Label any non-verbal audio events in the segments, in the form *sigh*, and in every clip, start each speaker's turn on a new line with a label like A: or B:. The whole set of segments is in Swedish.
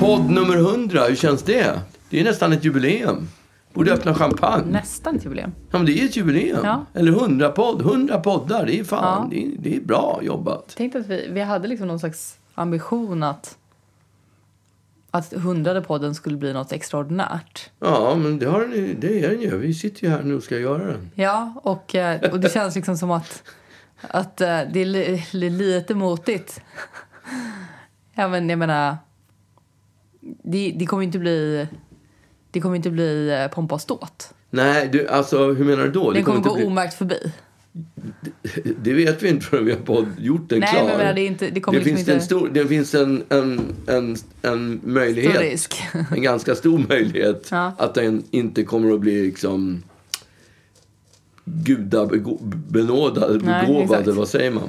A: Podd nummer 100, hur känns det? Det är nästan ett jubileum. Borde öppna champagne.
B: Nästan ett jubileum.
A: Ja, men det är ett jubileum.
B: Ja.
A: Eller 100 podd. 100 poddar, det är fan,
B: Ja.
A: det, är, det är bra jobbat.
B: Tänk att vi, vi hade liksom någon slags ambition att att hundrade podden skulle bli något extraordinärt.
A: Ja, men det, har den, ju- det är den ju. Vi sitter ju här nu och ska göra den.
B: Ja, och, eh, och det känns liksom som att, att eh, det är li, li, lite motigt. Ja, men jag menar, det, det kommer ju inte bli, det kommer inte bli eh, pompa och ståt.
A: Nej, du, alltså hur menar du då?
B: Den kommer,
A: inte
B: gå omärkt förbi.
A: bli, *laughs* det vet vi inte förrän vi har podd, gjort den
B: Nej,
A: klar.
B: men jag menar, det, är inte, det kommer
A: det,
B: liksom
A: finns en
B: inte...
A: stor, det finns en, en, en, en möjlighet,
B: Stor risk.
A: en ganska stor möjlighet
B: Ja.
A: att den inte kommer att bli liksom gudabenådad, eller
B: Nej,
A: begåvad,
B: exakt.
A: eller vad säger man?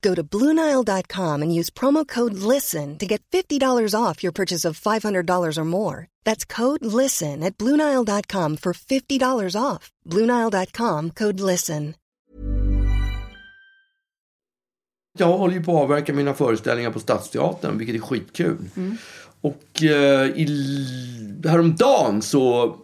C: Go to BlueNile.com and use promo code LISTEN to get $50 off your purchase of $500 or more. That's code LISTEN at BlueNile.com for $50 off. BlueNile.com code LISTEN.
A: Jag håller ju på att avverka mina föreställningar på Stadsteatern, vilket är skitkul.
B: Mm.
A: Och eh, i, häromdagen så,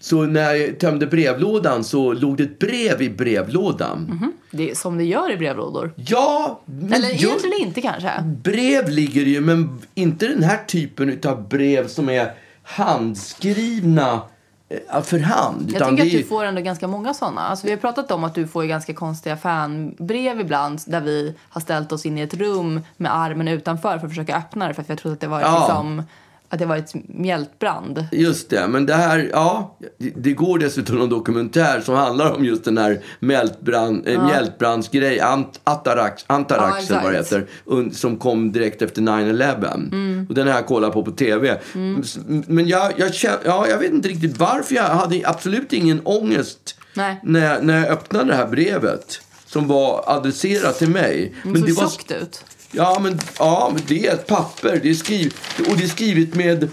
A: så när jag tömde brevlådan så låg det ett brev i brevlådan.
B: Det är som det gör i brevlådor.
A: Ja, men
B: Mm-hmm.
A: Mm.
B: Eller
A: jag-
B: egentligen inte kanske.
A: brev ligger det ju, men inte den här typen av brev som är handskrivna eh, för hand.
B: Jag
A: utan
B: tycker
A: det
B: att
A: är-
B: du får ändå ganska många sådana. Alltså, vi har pratat om att du får ju ganska konstiga fanbrev ibland där vi har ställt oss in i ett rum med armen utanför för att försöka öppna det för att vi har trott att det varit,
A: Ja.
B: liksom, att det varit mjältbrand.
A: Just det, men det här, ja. det- Det går dessutom en dokumentär som handlar om just den här mjältbrand, ja. mjältbrandsgrej, ant, atarax,
B: Ja,
A: Antarax
B: exakt. Mm.
A: eller vad det heter, un- som kom direkt efter 9-11. Och den här jag kollade på på TV. S- Men jag, jag, kän- ja, jag vet inte riktigt varför jag hade absolut ingen ångest
B: Nej.
A: När, jag, när jag öppnade det här brevet. Som var adresserat till mig.
B: Det såg
A: det var,
B: tjockt ut.
A: Ja, men, ja, men det är ett papper. Det är skrivet, och det är skrivet med...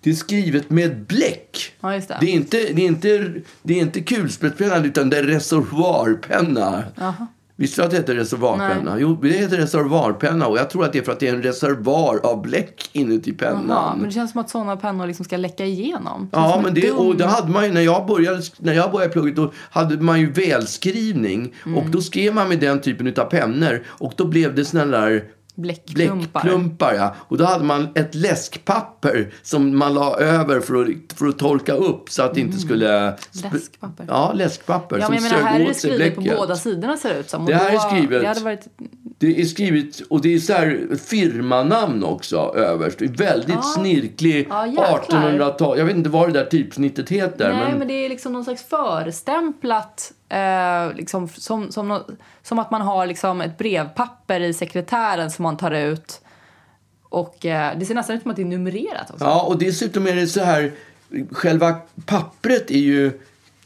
A: Det är skrivet med bläck.
B: Ja, just det.
A: är inte, det är inte, det är inte kulspetspenna, utan det är reservoarpenna. Visste du att det heter reservoarpenna? Jo, det heter reservoarpenna. Och jag tror att det är för att det är en reservoar av bläck inuti pennan.
B: Ja, men det känns som att sådana pennor liksom ska läcka igenom. Det känns
A: Ja,
B: som
A: men
B: en
A: det,
B: dum-
A: och det hade man ju när jag började, när jag började plugget. Då hade man ju välskrivning.
B: Mm.
A: Och då skrev man med den typen av pennor. Och då blev det såna där
B: Bläckklumpar.
A: bläckklumpar. Ja. Och då hade man ett läskpapper som man la över för att, för att torka upp så att det inte skulle... sp-
B: Läskpapper.
A: Ja, läskpapper
B: Mm. Ja,
A: som
B: men jag
A: sög
B: menar, här är det
A: åt sig
B: skrivet på
A: bläcket.
B: båda sidorna ser det ut som. Och
A: Det här
B: då-
A: är skrivet.
B: Det hade varit
A: Det är skrivet, och det är så här firmanamn också överst. Det är Väldigt snirklig
B: Ja, jäklar.
A: 1800-tal. Jag vet inte vad det där typsnittet heter.
B: Nej, men... det är liksom någon slags förstämplat. Eh, liksom, som, som, nå- som att man har liksom ett brevpapper i sekretären som man tar ut. Och eh, det ser nästan ut som att det är numrerat också.
A: Ja, och dessutom är det så här, själva pappret är ju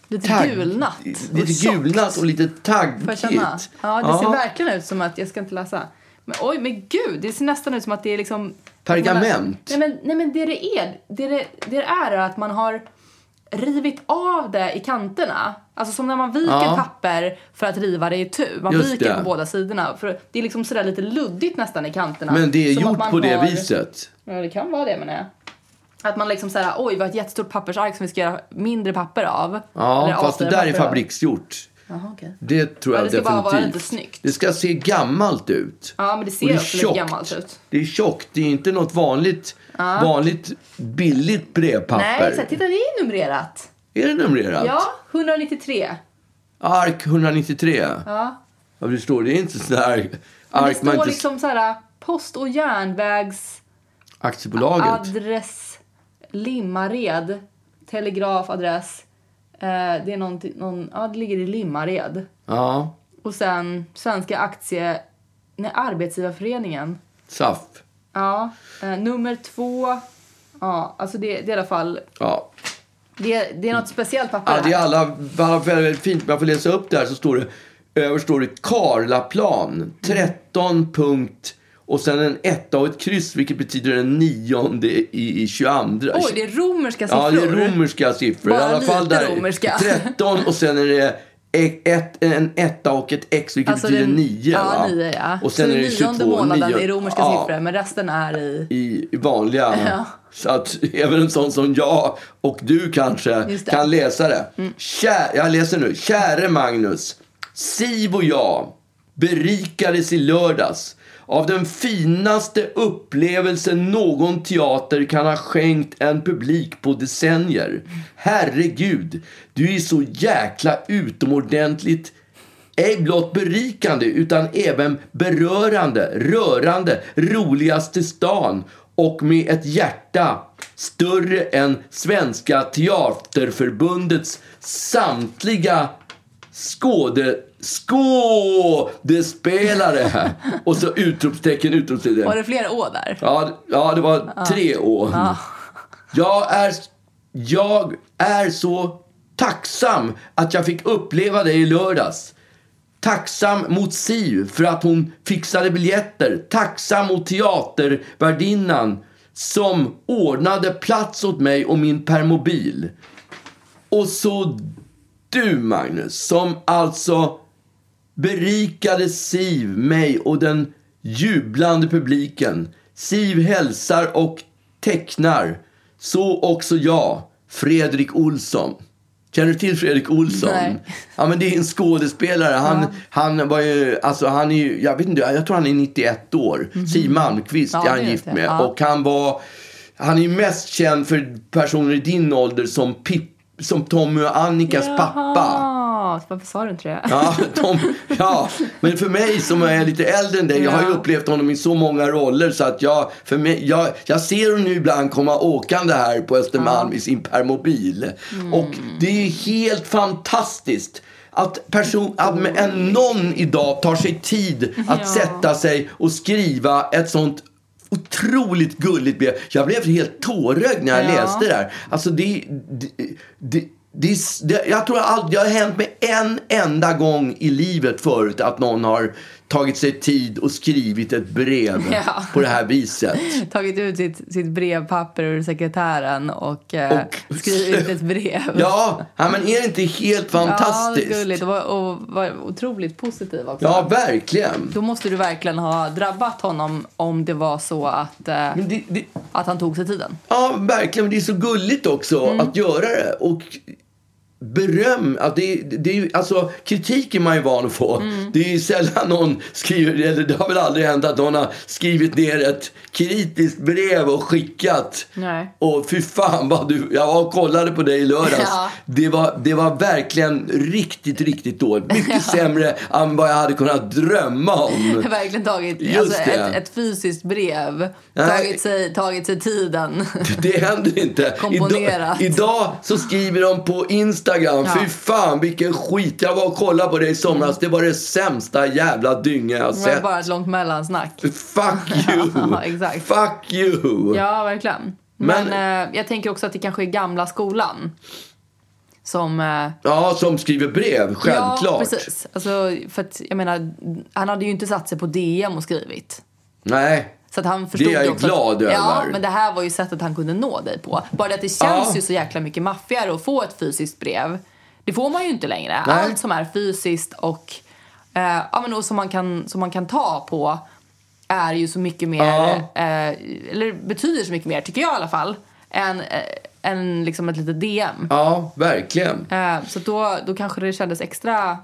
B: lite
A: tagg,
B: gulnat. och
A: Lite
B: tjockt.
A: gulnat och lite taggigt.
B: Får jag känna? Ja, det ser verkligen ut som att, jag ska inte läsa. Men, oj, men gud, det ser nästan ut som att det är liksom...
A: Pergament.
B: Nej men, nej, men det det är, det det, det det är, är att man har rivit av det i kanterna. Alltså som när man viker
A: Ja.
B: papper för att riva det i tu. Man
A: Just
B: viker
A: det.
B: på båda sidorna. För det är liksom sådär lite luddigt nästan i kanterna.
A: Men det är
B: Som att
A: gjort
B: man
A: på det
B: har-
A: viset.
B: Ja, det kan vara det menar jag. Att man liksom såhär, oj vi har ett jättestort pappersark som vi ska göra mindre papper av.
A: Ja,
B: Eller
A: fast det
B: avskrivna
A: där är
B: papper av.
A: fabriksgjort.
B: Jaha, okej.
A: Det tror
B: Ja,
A: jag
B: det ska bara
A: definitivt.
B: vara lite snyggt.
A: Det ska se gammalt ut.
B: Ja, men det
A: Och
B: ser också lite gammalt ut.
A: Det är tjockt. Det är inte något vanligt, vanligt billigt brevpapper.
B: Nej, exakt. Titta, det är numrerat.
A: Är det numrerat?
B: Ja, 193.
A: Ark 193.
B: Ja.
A: Ja, det står det är inte sån där
B: Det
A: ark man
B: står
A: inte...
B: liksom så här post och järnvägs
A: Aktiebolaget.
B: adress Limmared. Telegrafadress. Eh, det är någon, någon, ja det ligger i Limmared.
A: Ja,
B: Och sen Svenska aktie... Nej, Arbetsgivarföreningen.
A: SAF.
B: Ja, eh, nummer två. Ja, alltså det, det är i alla fall...
A: Ja.
B: Det, det är något speciellt papper
A: ja, det är
B: här.
A: alla, alla väldigt fint. Man får läsa upp det här så står det, överst står det
B: Mm.
A: Karlaplan 13 punkt och sen en etta och ett kryss vilket betyder den nionde i, i 22.
B: Oj, det är romerska siffror.
A: Ja, det är romerska siffror.
B: Bara
A: I alla fall
B: lite
A: där
B: romerska.
A: 13 och sen är det e- ett, en etta och ett x, vilket
B: Alltså
A: betyder
B: den-
A: 9.
B: Ja,
A: va?
B: nio, ja.
A: Och sen
B: så
A: är det 22
B: nionde månaden
A: nio-
B: är romerska
A: ja,
B: siffror, men resten är i...
A: I, i vanliga. Så att även en sån som jag och du kanske
B: Just det. Mm.
A: kan läsa det. Kär, jag läser nu. Käre Magnus. Siv och jag berikades i lördags av den finaste upplevelsen någon teater kan ha skänkt en publik på
B: Mm.
A: decennier. Herregud, du är så jäkla utomordentligt ej blott berikande utan även berörande, rörande, roligaste stan och med ett hjärta större än Svenska Teaterförbundets samtliga skåde, skådespelare. Och så utropstecken, utropstecken.
B: Var det fler å där?
A: Ja, ja det var tre år. Jag, är, jag är så tacksam att jag fick uppleva det i lördags. Tacksam mot Siv för att hon fixade biljetter. Tacksam mot teatervärdinnan som ordnade plats åt mig och min permobil. Och så du, Magnus, som alltså berikade Siv, mig och den jublande publiken. Siv hälsar och tecknar. Så också jag, Fredrik Olsson. Känner du till Fredrik Olsson?
B: Nej.
A: Ja, men det är en skådespelare. Han, han var ju, alltså han är ju, jag vet inte, jag tror han är 91 år. Siw Malmkvist
B: Mhm. Ja,
A: är
B: det
A: han
B: vet
A: gift
B: jag.
A: med.
B: Ja.
A: Och han var, han är ju mest känd för personer i din ålder som Pip, som Tommy och Annikas pappa.
B: Jaha, varför sa du inte det?
A: Ja, de, ja, men för mig som är lite äldre än dig, jag har ju
B: Ja.
A: upplevt honom i så många roller så att jag, för mig, jag, jag ser honom nu ibland komma åkande här på Östermalm i sin permobil.
B: Mm.
A: Och det är helt fantastiskt. Att, person, att med- en någon idag tar sig tid att
B: Ja.
A: sätta sig och skriva ett sånt otroligt gulligt brev. Jag blev helt tårögd när jag
B: Ja.
A: läste det här. Alltså det, det, det, det, det jag tror allt, det har hänt mig en enda gång i livet förut att någon har tagit sig tid och skrivit ett brev
B: *laughs* Ja.
A: på det här viset.
B: *laughs* Tagit ut sitt, sitt brevpapper ur sekretären och, eh,
A: Och-
B: skrivit ett brev.
A: Ja, ja, men är det inte helt
B: Ja, det är
A: fantastiskt?
B: gulligt. Och var, och var otroligt positiv också.
A: Ja, verkligen.
B: Då måste du verkligen ha drabbat honom om det var så att, eh,
A: Men det, det,
B: att han tog sig tiden.
A: Ja, verkligen. Men det är så gulligt också
B: Mm.
A: att göra det. Och beröm. Att det, det är ju, alltså, kritik är man ju van att få.
B: Mm.
A: Det är ju sällan någon skriver, eller det har väl aldrig hänt att någon har skrivit ner ett kritiskt brev och skickat.
B: Nej.
A: Och fy fan vad du, jag var och kollade på dig i lördags.
B: Ja.
A: Det, var, det var verkligen riktigt, riktigt dåligt. Mycket
B: *laughs*
A: sämre än vad jag hade kunnat drömma om.
B: Verkligen
A: *laughs*
B: tagit
A: Just
B: alltså,
A: det.
B: ett, ett fysiskt brev.
A: Nej.
B: Tagit sig, tagit sig tiden. *laughs*
A: Det händer inte. Idag,
B: Komponerat.
A: idag så skriver de på Instagram.
B: Ja.
A: Fy fan vilken skit. Jag var och kollade på dig i somras. Det var det sämsta jävla dynga jag
B: Det var
A: sett.
B: bara ett långt mellansnack.
A: Fuck you.
B: *laughs* Ja, exakt.
A: Fuck you.
B: Ja, verkligen. Men, eh, jag tänker också att det kanske är gamla skolan. Som... Eh,
A: Ja, som skriver brev. Självklart.
B: Ja, precis. Alltså, för att, jag menar, han hade ju inte satt sig på DM och skrivit.
A: Nej.
B: Så att han förstod
A: Det är jag ju
B: också
A: glad
B: att,
A: över.
B: Ja, men det här var ju sättet han kunde nå dig på. Bara det att det känns
A: Ja.
B: ju så jäkla mycket maffigare att få ett fysiskt brev. Det får man ju inte längre.
A: Nej.
B: Allt som är fysiskt och, eh, ja, men och som, man kan, som man kan ta på är ju så mycket mer,
A: Ja.
B: eh, eller betyder så mycket mer, tycker jag i alla fall, än, eh, än liksom ett litet DM.
A: Ja, verkligen.
B: Eh, så då, då kanske det kändes extra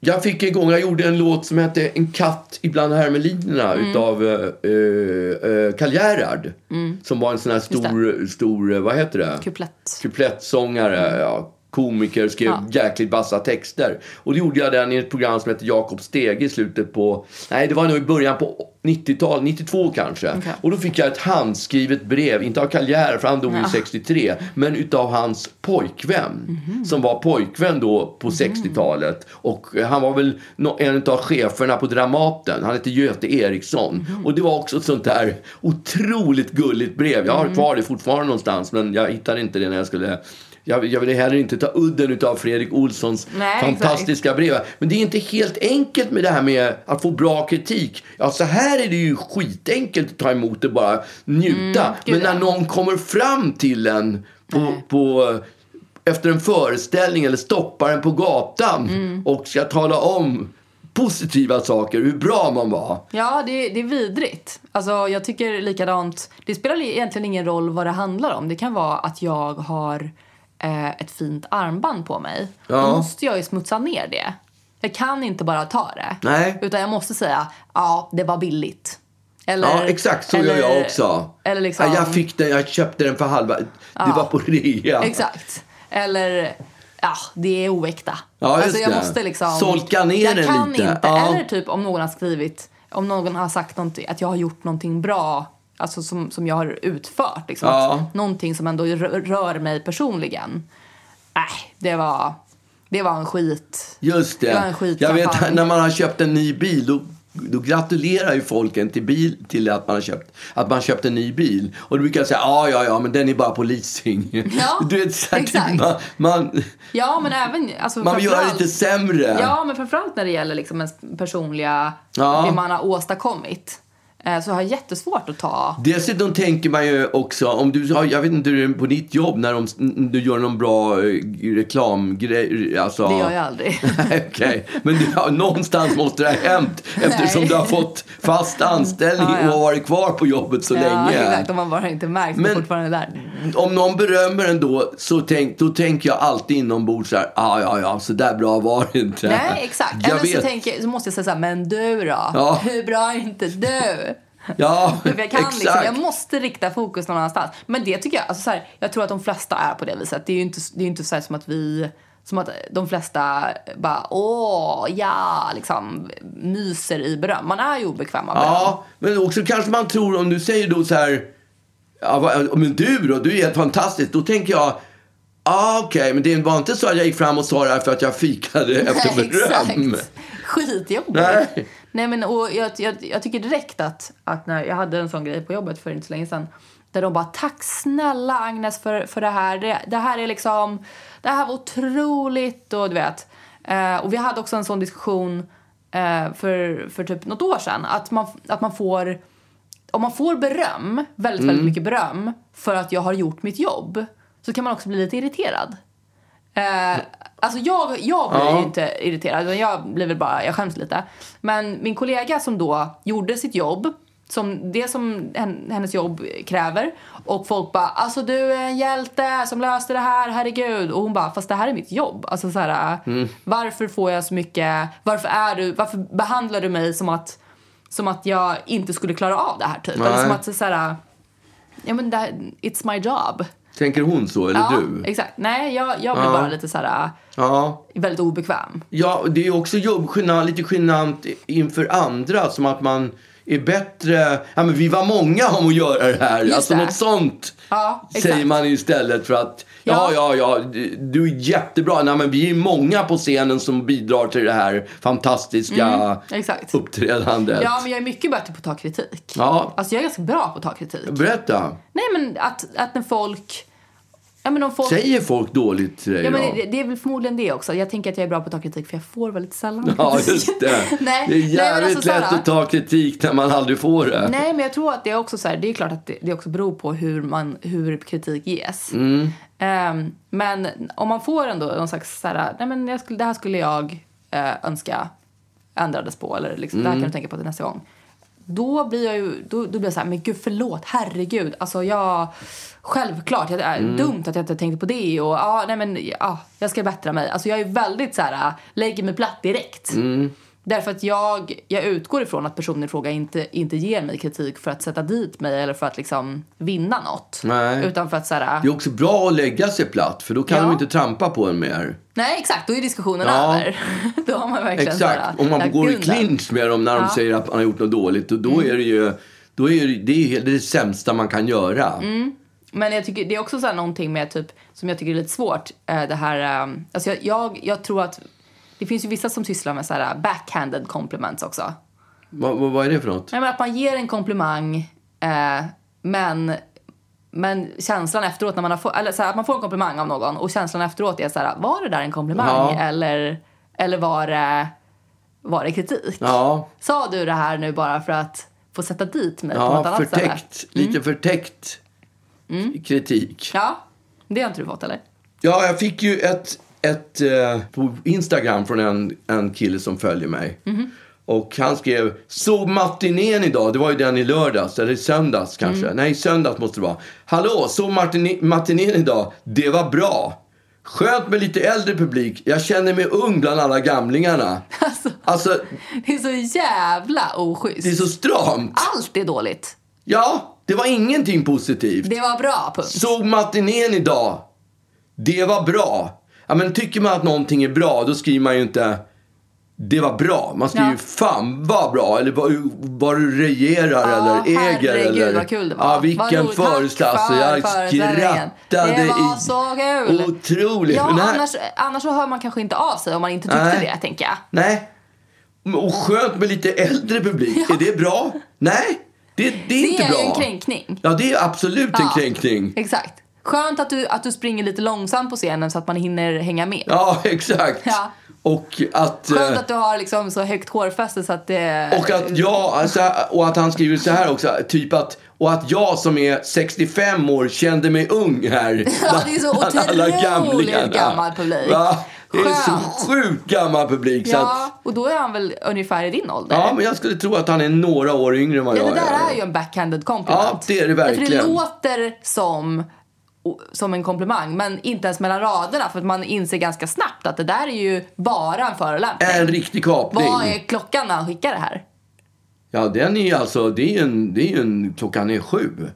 A: Jag fick en gång, jag gjorde en låt som hette En katt ibland hermelinerna
B: Mm.
A: utav eh, eh, eh, Karl Gerhard.
B: Mm.
A: Som var en sån här stor, stor, eh, vad heter det?
B: Kuplett.
A: kuplettsångare, ja, komiker, skrev
B: Mm. Ja.
A: jäkligt vassa texter. Och det gjorde jag den i ett program som hette Jakob Stege i slutet på, nej det var nog i början på 90-tal, 92 kanske.
B: Okej.
A: Och då fick jag ett handskrivet brev, inte av Karl för han dog i 63, men utav hans pojkvän. Som var pojkvän då på 60-talet. Och eh, han var väl nå- en utav cheferna på Dramaten. Han hette Göte Eriksson. Och det var också ett sånt där otroligt gulligt brev. Jag har kvar det fortfarande någonstans, men jag hittade inte det när jag skulle jag, jag ville heller inte ta udden utav Fredrik Olssons
B: Nej,
A: fantastiska kritiska brev. Men det är inte helt enkelt med det här med att få bra kritik. Ja, så här är det ju skitenkelt att ta emot det och bara njuta. Men
B: Mm, gud,
A: när
B: ja. Mm.
A: någon kommer fram till en på, på, efter en föreställning eller stoppar en på gatan
B: Mm.
A: och ska tala om positiva saker, hur bra man var.
B: Ja, det, det är vidrigt. Alltså, jag tycker likadant. Det spelar egentligen ingen roll vad det handlar om. Det kan vara att jag har eh, ett fint armband på mig.
A: Ja.
B: Då måste jag ju smutsa ner det. Jag kan inte bara ta det.
A: Nej.
B: Utan jag måste säga, ja, det var billigt. Eller,
A: Ja, exakt så gör jag också.
B: Eller liksom,
A: ja, jag fick den, jag köpte den för halva, det var på rea.
B: Exakt. Eller, ja, det är oäkta.
A: Ja, just
B: alltså jag
A: det.
B: måste liksom...
A: Solka ner
B: jag
A: den
B: kan
A: lite.
B: Inte,
A: Ja.
B: Eller typ om någon har skrivit, om någon har sagt någonting, att jag har gjort någonting bra. Alltså som, som jag har utfört. Liksom.
A: Ja.
B: Att Någonting som ändå rör, rör mig personligen. Nej, det var, det var en skit.
A: Just det.
B: Det var en
A: jag
B: skitkampanj.
A: vet när man har köpt en ny bil då, då gratulerar ju folk en till, bil, till att, man har köpt, att man köpt en ny bil. Och då brukar jag säga ja, ja, ja, men den är bara på leasing.
B: Ja,
A: *laughs* du vet, så här,
B: exakt.
A: typ, man, man,
B: Ja, men även... Alltså,
A: man vill göra
B: framförallt-
A: lite sämre.
B: Ja, men framförallt när det gäller liksom ens personliga,
A: Ja.
B: det man har åstadkommit. eh, Så har jag jättesvårt att ta
A: Dessutom tänker man ju också, om du, har- jag vet inte hur det är på ditt jobb när de, du gör någon bra eh, reklamgrej. Alltså,
B: Det gör jag aldrig. *laughs*
A: Nej, *laughs* Okej, men det, ja, någonstans måste det ha hänt eftersom
B: Nej.
A: du har fått fast anställning
B: Ja, ja.
A: och har varit kvar på jobbet så
B: Ja,
A: länge.
B: exakt. Om man bara inte märkt men...
A: Men-
B: fortfarande där.
A: Om någon berömmer en då, så tänk, då tänker jag alltid inombords så här, ah, ja, ja, så där bra var det inte.
B: Nej, exakt.
A: Jag
B: Eller så,
A: vet.
B: tänker, så måste jag säga så här, men du då?
A: Ja.
B: Hur bra är inte du?
A: Ja,
B: För *laughs* jag, kan
A: exakt.
B: liksom, jag måste rikta fokus någon annanstans. Men det tycker jag, alltså så här, jag tror att de flesta är på det viset. Det är ju inte, det är ju inte så här som att vi, som att de flesta bara åh, ja, liksom myser i beröm. Man är ju obekväm av beröm.
A: Ja, men också kanske man tror om du säger då så här, ja, vad, men du då, du är helt fantastisk. Då tänker jag, ah, okej, men det var inte så att jag gick fram och sa det här för att jag fikade efter
B: Nej,
A: beröm.
B: Exakt. Skitjobbigt.
A: Nej.
B: Nej, men och jag, jag, jag tycker direkt att, att när jag hade en sån grej på jobbet för inte så länge sedan där de bara “Tack snälla Agnes för, för det här. Det, det här är liksom, det här var otroligt” och du vet. Eh, och vi hade också en sån diskussion eh, för, för typ något år sedan att man, att man får om man får beröm, väldigt,
A: Mm.
B: väldigt mycket beröm för att jag har gjort mitt jobb så kan man också bli lite irriterad. Eh, alltså jag, jag blir
A: Ja.
B: ju inte irriterad, utan jag blir väl bara, jag skäms lite. Men min kollega som då gjorde sitt jobb, som det som hen- hennes jobb kräver och folk bara alltså du är en hjälte som löste det här, herregud. Och hon bara fast det här är mitt jobb. Alltså så här,
A: Mm.
B: varför får jag så mycket, varför är du, varför behandlar du mig som att som att jag inte skulle klara av det här typ. Eller
A: Nej.
B: som att så här, ja men det här, it's my job.
A: Tänker hon så, eller
B: Ja,
A: du?
B: exakt. Nej, jag, jag blir bara lite så här
A: Ja.
B: väldigt obekväm.
A: Ja, det är också jobb, gena- lite genant inför andra. Som att man är bättre. Ja, men vi var många om att göra det här.
B: Just
A: alltså
B: det.
A: något sånt
B: Ja, exakt.
A: säger man istället för att
B: Ja.
A: ja, ja, ja, d- du är jättebra. Nej, men vi är många på scenen som bidrar till det här fantastiska
B: Exakt.
A: uppträdandet.
B: Mm. Ja, men jag är mycket bättre på att ta kritik.
A: Ja.
B: Alltså jag är ganska bra på att ta kritik.
A: Berätta.
B: Nej men att, att när folk, ja men om folk
A: Säger folk dåligt till dig
B: Ja, men
A: då?
B: det, det är väl förmodligen det också. Jag tänker att jag är bra på att ta kritik för jag får väldigt sällan
A: Ja,
B: kritik.
A: just det.
B: *laughs* nej,
A: det är
B: nej, men
A: jävligt
B: alltså,
A: lätt
B: Sara,
A: att ta kritik när man aldrig får det.
B: Nej, men jag tror att det är också så här, det är klart att det, det också beror på hur, man, hur kritik ges. Ehm, men om man får ändå någon slags så här, nej men jag skulle, det här skulle jag eh, önska ändrades på eller liksom, det här kan du tänka på till nästa gång. Då blir jag ju, då, då blir jag så här, men gud förlåt, herregud. Alltså jag, självklart, jag, äh, dumt att jag inte tänkte på det och ja, nej men ja, jag ska bättra mig. Alltså jag är väldigt så här, äh, lägger mig platt direkt. Därför att jag, jag utgår ifrån att personen i fråga inte, inte ger mig kritik för att sätta dit mig eller för att liksom vinna något.
A: Nej.
B: Utan för att så här, äh,
A: Det är också bra att lägga sig platt för då kan
B: Ja.
A: de inte trampa på en mer.
B: nej exakt, då är diskussionen
A: Ja.
B: över. *laughs* då har man verkligen så här,
A: Exakt. Om man
B: lagt
A: går i
B: grunden.
A: clinch med dem när de
B: Ja. Mm.
A: säger att man har gjort något dåligt då, då är det ju då är det, det, är ju det sämsta man kan göra.
B: Mm. Men jag tycker, det är också så här någonting med typ, som jag tycker är lite svårt. eh, Det här, eh, alltså jag, jag, jag tror att det finns ju vissa som sysslar med så här backhanded compliments också.
A: Vad, vad, vad är det för något?
B: Nej, men att man ger en komplimang eh, men, men känslan efteråt när man har få, eller så här, att man får en komplimang av någon och känslan efteråt är så här, var det där en komplimang
A: Ja.
B: eller, eller var det, var det kritik?
A: Ja,
B: Sa du det här nu bara för att få sätta dit mig på något
A: ja
B: annat ställe?
A: förtäckt.
B: Mm.
A: Lite förtäckt kritik.
B: Ja, det har inte du fått eller? *laughs*
A: Ja, jag fick ju ett, ett eh, på Instagram från en, en kille som följer mig. Och han skrev, såg matinén idag? Det var ju den i lördags, eller i söndags kanske. Nej, söndags måste det vara. Hallå, såg matine- matinén idag? Det var bra. Skönt med lite äldre publik. Jag känner mig ung bland alla gamlingarna. Alltså,
B: Det är så jävla oschysst.
A: det är så stramt.
B: Allt är dåligt.
A: Ja, det var ingenting positivt.
B: Det var bra, punkt.
A: Såg matinén idag. Det var bra. Ja, men tycker man att någonting är bra, då skriver man ju inte det var bra. Man skriver
B: Ja.
A: ju fan vad bra. Eller vad, vad du regerar
B: Ja,
A: eller äger.
B: herregud,
A: eller,
B: vad kul det var.
A: Ja,
B: Vad
A: vilken
B: roligt. Tack
A: föreställning. Alltså,
B: för
A: jag
B: föreställningen.
A: skrattade
B: Det var
A: i-
B: så kul.
A: Otroligt.
B: Ja,
A: Men det här-
B: annars, annars så hör man kanske inte av sig om man inte tyckte
A: Nej.
B: det, tänker jag.
A: Nej. Och skönt med lite äldre publik. Är det bra? Nej, det, det är
B: Det
A: inte
B: är
A: bra.
B: ju en kränkning.
A: Ja, det är absolut en
B: Ja.
A: kränkning.
B: Exakt. Skönt att du, att du springer lite långsamt på scenen så att man hinner hänga med.
A: Ja, *laughs* exakt.
B: Ja.
A: Och att...
B: Skönt
A: eh,
B: att du har liksom så högt hårfäste så att det...
A: Och att jag, alltså, och att han skriver så här också, typ att, och att jag som är 65 år kände mig ung här.
B: *laughs* Ja, det är så
A: bland alla
B: otroligt
A: gamlingarna.
B: gammal publik.
A: Va? Det är
B: Skönt.
A: så sjukt gammal publik. Så
B: Ja,
A: att,
B: och då är han väl ungefär i din ålder?
A: ja, men jag skulle tro att han är några år yngre än vad
B: Ja,
A: jag
B: det där är ju en backhanded compliment.
A: Ja, det är det
B: Därför
A: verkligen.
B: det låter som, o- som en komplimang, men inte ens mellan raderna. För att man inser ganska snabbt att det där är ju bara en förolämpning.
A: En riktig kapning.
B: Vad är klockan när han skickar det här?
A: Ja, den är ju alltså, det är ju en, det är ju en, klockan är sju.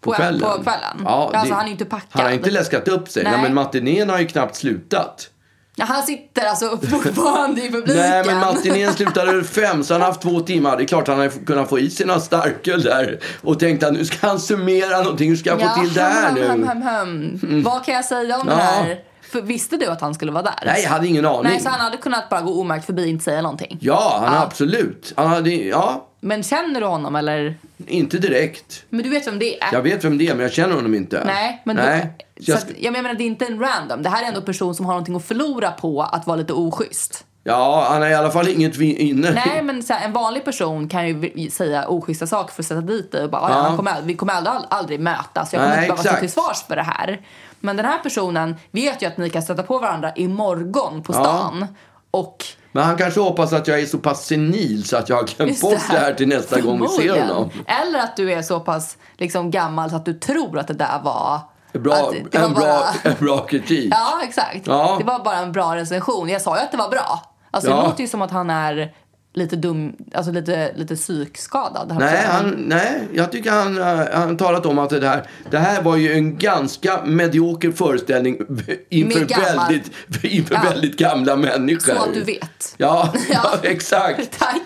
A: På
B: På-
A: kvällen.
B: på kvällen.
A: Ja,
B: Alltså, han är ju inte packad.
A: Han har inte läskat upp sig.
B: Nej.
A: Ja, men matinén har ju knappt slutat.
B: Ja, han sitter alltså *laughs* fortfarande i publiken.
A: Nej, men matinén slutade fem, så han har haft två timmar. Det är klart han har kunnat få i sig några starköl där. Och tänkte att nu ska han summera någonting. Hur ska jag
B: Ja,
A: få till det här
B: hem,
A: nu? Mm.
B: hem, hem, hem. Vad kan jag säga om
A: Ja.
B: det här? För, visste du att han skulle vara där?
A: Nej, jag hade ingen aning.
B: Nej, så han hade kunnat bara gå omärkt förbi och inte säga någonting.
A: Ja, han absolut. Han hade, ja,
B: Men känner du honom eller?
A: inte direkt.
B: Men du vet vem det är?
A: Jag vet vem det är, men jag känner honom inte.
B: Nej, men
A: Nej.
B: Du,
A: Så
B: så
A: jag
B: att,
A: sk-
B: jag menar det är inte en random. Det här är ändå en person som har någonting att förlora på att vara lite oschysst.
A: Ja, han har i alla fall inget vi- inne.
B: Nej, men så här, en vanlig person kan ju vi- säga oschyssta saker för att sätta dit dig och bara, ja.
A: Ja.
B: han kommer, ald- vi kommer aldrig, aldrig mötas, jag kommer
A: Nej,
B: inte behöva stå
A: exakt.
B: till svars för det här. Men den här personen vet ju att ni kan stöta på varandra imorgon på stan. Och
A: Men han kanske hoppas att jag är så pass senil så att jag har glömt
B: Just
A: bort det här till nästa gång vi ser
B: Förmodligen.
A: honom.
B: Eller att du är så pass liksom, gammal så att du tror att det där var...
A: Bra,
B: att det var
A: en, bra,
B: bara-
A: en bra kritik.
B: Ja, exakt.
A: Ja.
B: Det var bara en bra recension. Jag sa ju att det var bra. Alltså,
A: Ja.
B: Det låter ju som att han är lite dum, alltså lite, lite psykskadad.
A: Nej, han, nej, jag tycker han eh, han har talat om att det här, det här var ju en ganska medioker föreställning *laughs* inför,
B: Med gammal-
A: väldigt, inför
B: Ja.
A: väldigt gamla människor.
B: Så att du vet.
A: Ja, ja.
B: *laughs* Ja.
A: exakt.
B: *laughs* Tack!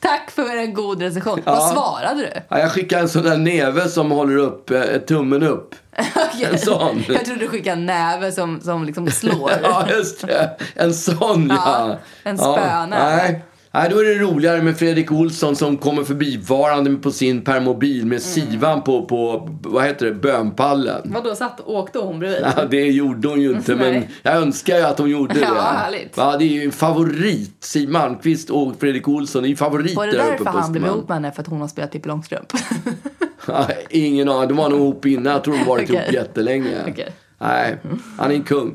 B: Tack för en god recension.
A: Ja.
B: Vad svarade du? *laughs*
A: Ja, jag skickar en sån där näve som håller upp eh, tummen
B: *laughs*
A: upp.
B: Okej.
A: En sån.
B: Jag trodde du skickade en näve som, som liksom slår.
A: *laughs* Ja, just det. En sån, ja.
B: Ja, en spöna.
A: nej. nej, då är det roligare med Fredrik Olsson som kommer förbivarande på sin permobil
B: Mm.
A: med sivan på, på vad heter det, bönpallen.
B: Vadå, satt och åkte hon bredvid?
A: Ja, det gjorde hon ju inte, men
B: Nej.
A: jag önskar ju att hon gjorde
B: Ja,
A: det.
B: härligt.
A: Ja, det är ju en favorit. Siw Malmkvist och Fredrik Olsson är ju favoriter
B: Var det
A: där uppe
B: därför
A: på
B: han blev
A: Östermalm.
B: ihop med henne? För att hon har spelat Pippi Långstrump? *laughs*
A: Ja, Ingen aning. De var nog ihop innan. Jag tror de varit ihop
B: Okej.
A: jättelänge.
B: Okej.
A: Nej, han är en kung.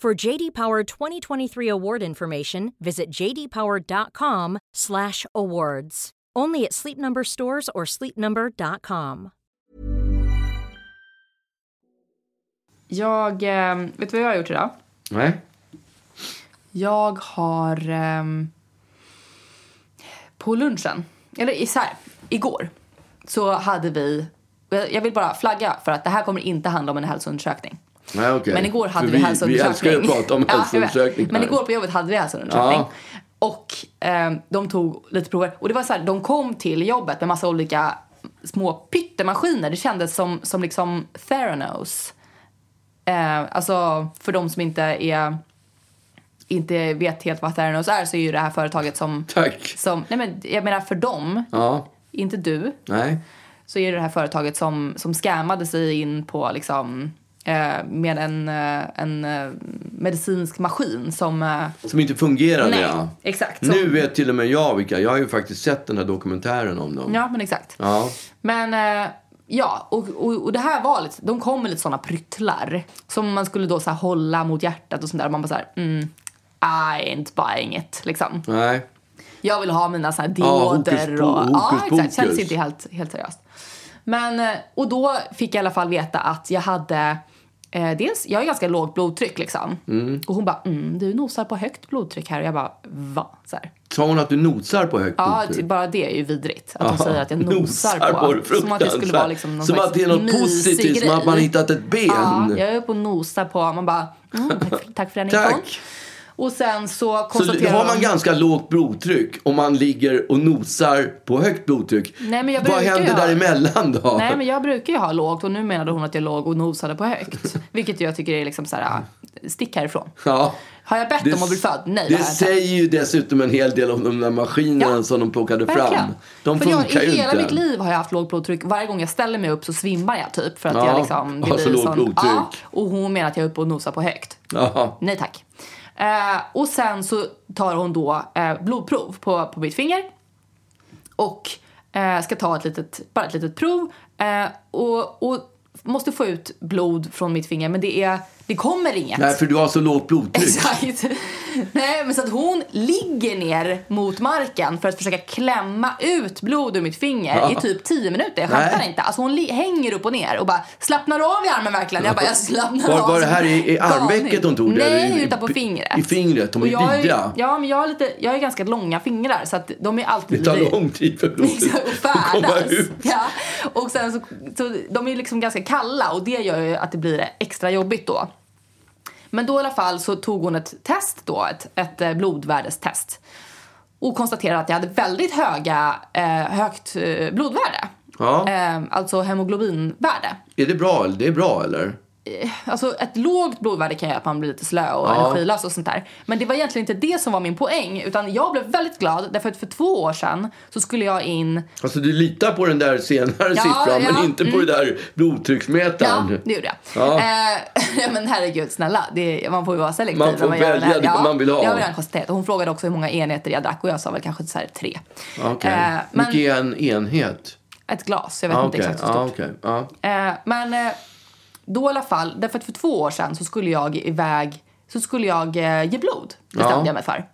D: For JD Power 2023 award information, visit jdpower.com/awards. Only at Sleep Number stores or sleepnumber.com.
B: Jag, eh, vet du vad jag har gjort idag?
A: Nej.
B: Jag har... ehm, på lunchen, eller i- så här, igår, så hade vi... Jag jag vill bara flagga för att det här kommer inte handla om en hälsoundersökning.
A: Nej, okej.
B: Men igår hade
A: För
B: vi, hälsoundersökning.
A: Vi älskar ju att prata om
B: *laughs* Ja, jag vet.
A: hälsoundersökningar.
B: Men igår på jobbet hade vi hälsoundersökning.
A: Ja.
B: Och ehm, de tog lite prover. Och det var så här, de kom till jobbet med massa olika små pyttemaskiner. Det kändes som, som liksom Theranos. Eh, alltså, för de som inte är inte vet helt vad Theranos är så är ju det här företaget som...
A: Tack.
B: som nej men, jag menar för dem,
A: Ja.
B: inte du
A: Nej.
B: så är det det här företaget som, som scammade sig in på liksom, eh, med en, eh, en eh, medicinsk maskin som... Eh,
A: Som inte fungerade,
B: nej,
A: ja.
B: exakt. Som,
A: Nu vet till och med jag vilka. Jag har ju faktiskt sett den här dokumentären om dem.
B: Ja, men exakt.
A: Ja.
B: Men eh, ja, och, och, och det här var lite, de kom med lite såna pryttlar som man skulle då så här hålla mot hjärtat och sånt där. Och man bara så här, mm, I ain't buying it liksom.
A: Nej.
B: Jag vill ha mina såna här
A: Ja, hokus
B: dioder
A: po-
B: och...
A: hokus
B: ja, exakt.
A: pokus.
B: Känns inte helt, helt seriöst. Men, eh, och då fick jag i alla fall veta att jag hade... Eh, dels, jag har ganska lågt blodtryck liksom. Och hon bara, mm, du nosar på högt blodtryck här. Och jag bara, va? Så här.
A: Sa hon att du nosar på högt
B: Ja,
A: blodtryck?
B: typ bara det är ju vidrigt. Att de
A: Ja,
B: säger
A: *laughs*
B: att jag nosar, på.
A: det,
B: som att det skulle vara liksom någon
A: Som
B: slags
A: att det är något
B: mysig
A: positivt, som att man
B: grej.
A: hittat ett ben.
B: Ja, jag är uppe och nosar på. Man bara, mm, tack, för, tack för den
A: Tack.
B: infon. Och sen så
A: Så
B: konstaterar
A: har man
B: de-
A: ganska lågt blodtryck om man ligger och nosar på högt blodtryck.
B: Nej, men jag
A: Vad
B: brukar ju
A: händer
B: ha-
A: däremellan då?
B: Nej, men jag brukar ju ha lågt och nu menade hon att jag låg och nosade på högt. Vilket jag tycker är liksom så här, stick härifrån.
A: *laughs* Ja.
B: Har jag bett om att bli född? Nej,
A: det
B: har jag inte.
A: säger ju dessutom en hel del om de där maskinerna
B: Ja,
A: som de plockade fram.
B: Verkligen.
A: De
B: för jag,
A: funkar
B: I
A: ju
B: hela
A: inte.
B: mitt liv har jag haft lågt blodtryck. Varje gång jag ställer mig upp så svimmar jag typ. För att
A: Ja,
B: jag liksom,
A: har så
B: blir
A: lågt
B: sån-
A: blodtryck.
B: Ja, och hon menar att jag är uppe och nosar på högt.
A: Ja.
B: Nej tack. Eh, och sen så tar hon då eh, blodprov på, på mitt finger. Och eh, ska ta ett litet, bara ett litet prov. Eh, och, och måste få ut blod från mitt finger men det, är, det kommer inget.
A: Nej, för du har så lågt blodtryck.
B: Exakt. Nej, men så att hon ligger ner mot marken för att försöka klämma ut blod ur mitt finger i typ 10 minuter. Jag skämtar
A: Nej.
B: inte. Alltså hon li- hänger upp och ner och bara slappnar av i armen verkligen. Jag bara, jag slappnar
A: Var,
B: av.
A: var det här i, i
B: Galning.
A: armvecket hon tog det?
B: Nej,
A: Eller i-
B: utan på fingret.
A: I fingret, de är
B: Och jag är,
A: vidriga.
B: ja, men jag har, lite, jag har ganska långa fingrar så att de är alltid
A: Det tar
B: lite-
A: lång tid för blodet
B: Exakt, *laughs* och
A: att *laughs* komma
B: färdas.
A: ut.
B: Ja. Och sen så, så de är ju liksom ganska kalla och det gör ju att det blir extra jobbigt då. Men då i alla fall så tog hon ett test då, ett, ett eh, blodvärdestest. Och konstaterade att jag hade väldigt höga, eh, högt eh, blodvärde.
A: Ja.
B: Eh, alltså hemoglobinvärde.
A: Är det bra? eller? Det är bra, eller?
B: Alltså ett lågt blodvärde kan göra att man blir lite slö och
A: Ja.
B: energilös och sånt där. Men det var egentligen inte det som var min poäng. Utan jag blev väldigt glad därför att för två år sedan så skulle jag in
A: Alltså, du litar på den där senare
B: Ja,
A: siffran, men
B: ja, Mm.
A: inte på den där blodtrycksmätaren.
B: Ja, det gjorde jag.
A: Ja.
B: Eh, *laughs* ja, men herregud, snälla. Det, man får ju vara selektiv.
A: Man får
B: när gör
A: välja
B: den här-
A: det man vill ha.
B: Det har vi redan konstaterat. Och Hon frågade också hur många enheter jag drack och jag sa väl kanske så här tre.
A: Okej.
B: Eh, men
A: Mycket är en enhet?
B: ett glas, jag vet
A: Ah,
B: inte
A: Okej.
B: exakt hur
A: Ah,
B: stort.
A: okej. Ah.
B: Eh, men eh, då i alla fall, därför att för två år sedan så skulle jag iväg, så skulle jag eh, ge blod. Bestämde
A: Ja.
B: jag mig för.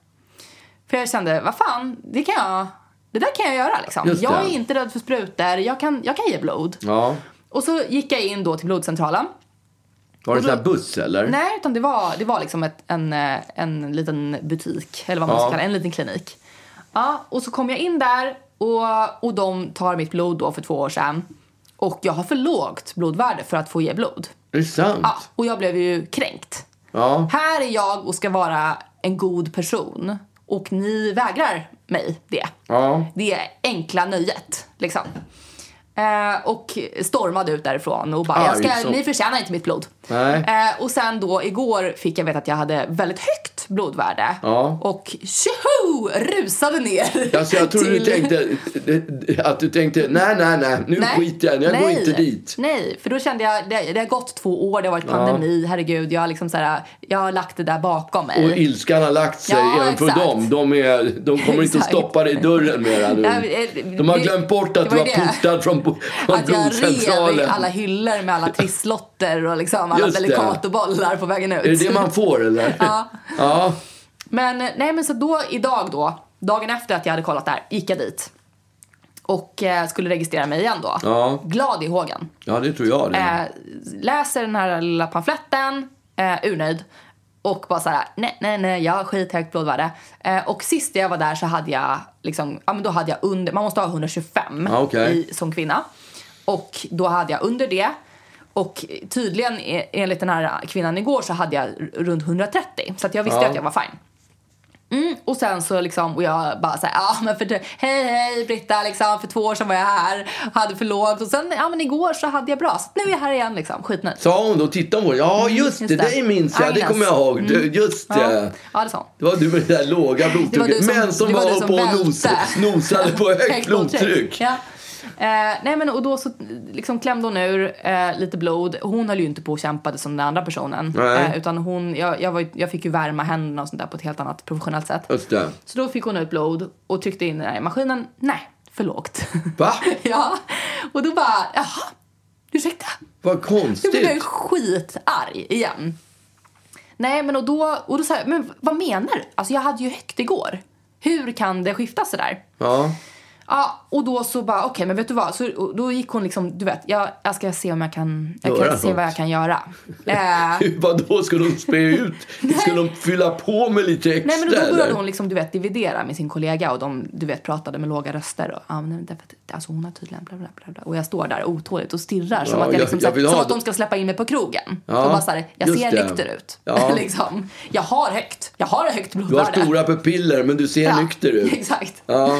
B: För jag kände, vad fan, det kan jag, det där kan jag göra liksom.
A: Just
B: Jag
A: det.
B: är inte rädd för sprutor, jag kan, jag kan ge blod.
A: Ja.
B: Och så gick jag in då till blodcentralen.
A: Var det en sån
B: Och då-
A: här buss eller?
B: Nej, utan det var, det var liksom ett, en, eh, en liten butik, eller vad man
A: Ja.
B: ska kalla det, en liten klinik. Ja, och så kom jag in där och, och de tar mitt blod då för två år sedan. Och jag har för lågt blodvärde för att få ge blod.
A: Är det sant?
B: Ja, och jag blev ju kränkt.
A: Ja.
B: Här är jag och ska vara en god person och ni vägrar mig det.
A: Ja.
B: Det enkla nöjet, liksom. Eh, och stormade ut därifrån och bara,
A: Arg
B: jag ska,
A: som-
B: ni förtjänar inte mitt blod.
A: Ah, Nej.
B: Eh, och sen då igår fick jag veta att jag hade väldigt högt blodvärde.
A: Ja.
B: Och tjoho! Rusade ner.
A: Alltså jag trodde
B: till-
A: du tänkte att du tänkte nej, nej, nej, nu skiter jag i det. jag går
B: nej,
A: inte dit.
B: Nej, för då kände jag, det, det har gått två år, det har varit pandemi, herregud, jag har liksom så här, jag har lagt det där bakom mig.
A: Och ilskan har lagt sig
B: Ja,
A: även för
B: exakt.
A: dem. De, är, de kommer inte att
B: Exakt.
A: stoppa dig i dörren mera
B: Nej,
A: nu.
B: men, eh,
A: De har
B: det-
A: glömt bort att
B: det
A: du var
B: var ju det.
A: portad från, bo- från
B: Att jag rev i
A: blodcentralen.
B: alla hyllor med alla trisslotter och liksom alla
A: Just det.
B: Delicatobollar på vägen ut.
A: Är det det man får eller? Ja. ja.
B: Men eh, nej men så då idag då, dagen efter att jag hade kollat där, gick jag dit. Och eh, skulle registrera mig igen då.
A: Ja.
B: Glad i hågen.
A: ja, det tror jag det.
B: Eh, läser den här lilla pamfletten, eh, urnöjd. Och bara såhär, nej, nej, nej, jag har skithögt blodvärde. Eh, och sist jag var där så hade jag liksom, ja men då hade jag under, man måste ha 125
A: Ja, Ah, okej.
B: i, som kvinna. Och då hade jag under det. Och tydligen e- enligt den här kvinnan igår så hade jag r- runt 130. Så att jag visste
A: Ja.
B: att jag var fine. Mm, Och sen så liksom, och jag bara såhär, ja men för hej hej Britta liksom, för två år sedan var jag här, hade för lågt och sen, ja men igår så hade jag bra, så att nu är jag här igen liksom, skitnöjd.
A: Sa hon då, titta hon på dig. Ja, just det,
B: Mm, just det.
A: det minns jag. Det
B: Agnes.
A: kommer jag ihåg. Du, Just
B: Ja,
A: det.
B: ja det sa hon.
A: Det var du med det där låga blodtrycket.
B: du som-
A: Men som
B: det var
A: bara
B: du
A: höll
B: som
A: på och
B: välte.
A: nos, nosade
B: *laughs*
A: på högt
B: Högt blodtryck.
A: blodtryck.
B: Ja. Eh, nej men och då så liksom klämde hon ur eh, lite blod. Hon höll ju inte på och kämpade som den andra personen.
A: Nej.
B: Eh, utan hon, jag, jag, var, ju- jag fick ju värma händerna och sånt där på ett helt annat professionellt sätt.
A: Just det.
B: Så då fick hon ut blod och tryckte in det där i maskinen. Nej, för lågt.
A: Va?
B: *laughs* ja. Och då bara, jaha, ursäkta.
A: Vad
B: Då blev
A: konstigt.
B: jag skitarg igen. Nej, men och då, och då sa jag, men vad menar du? Alltså jag hade ju högt igår. Hur kan det skifta sådär?
A: Ja.
B: Ja, och då så bara, okej men vet du vad? Så, och då gick hon liksom, du vet, jag, jag ska se om jag kan, jag
A: Göra
B: kan se vad
A: något.
B: jag kan göra. Eh,
A: *laughs* Vadå, skulle de spä ut? Skulle de fylla på med lite extra?
B: Nej men då började
A: eller?
B: hon liksom, du vet, dividera med sin kollega och de du vet, pratade med låga röster. Och, ah, men därför att, alltså, hon har tydligen bla, bla, bla, bla. Och jag står där otåligt och stirrar som,
A: Ja,
B: att,
A: jag-
B: jag liksom,
A: jag
B: så-
A: vill
B: som
A: ha
B: att de ska släppa in mig på krogen.
A: Ja,
B: och bara så här, jag
A: just
B: ser
A: det.
B: nykter ut.
A: Ja.
B: *laughs* liksom. Jag har högt, jag har högt
A: Du
B: blodvärde.
A: har
B: *laughs*
A: stora pupiller men du ser nykter ut.
B: Exakt.
A: Ja.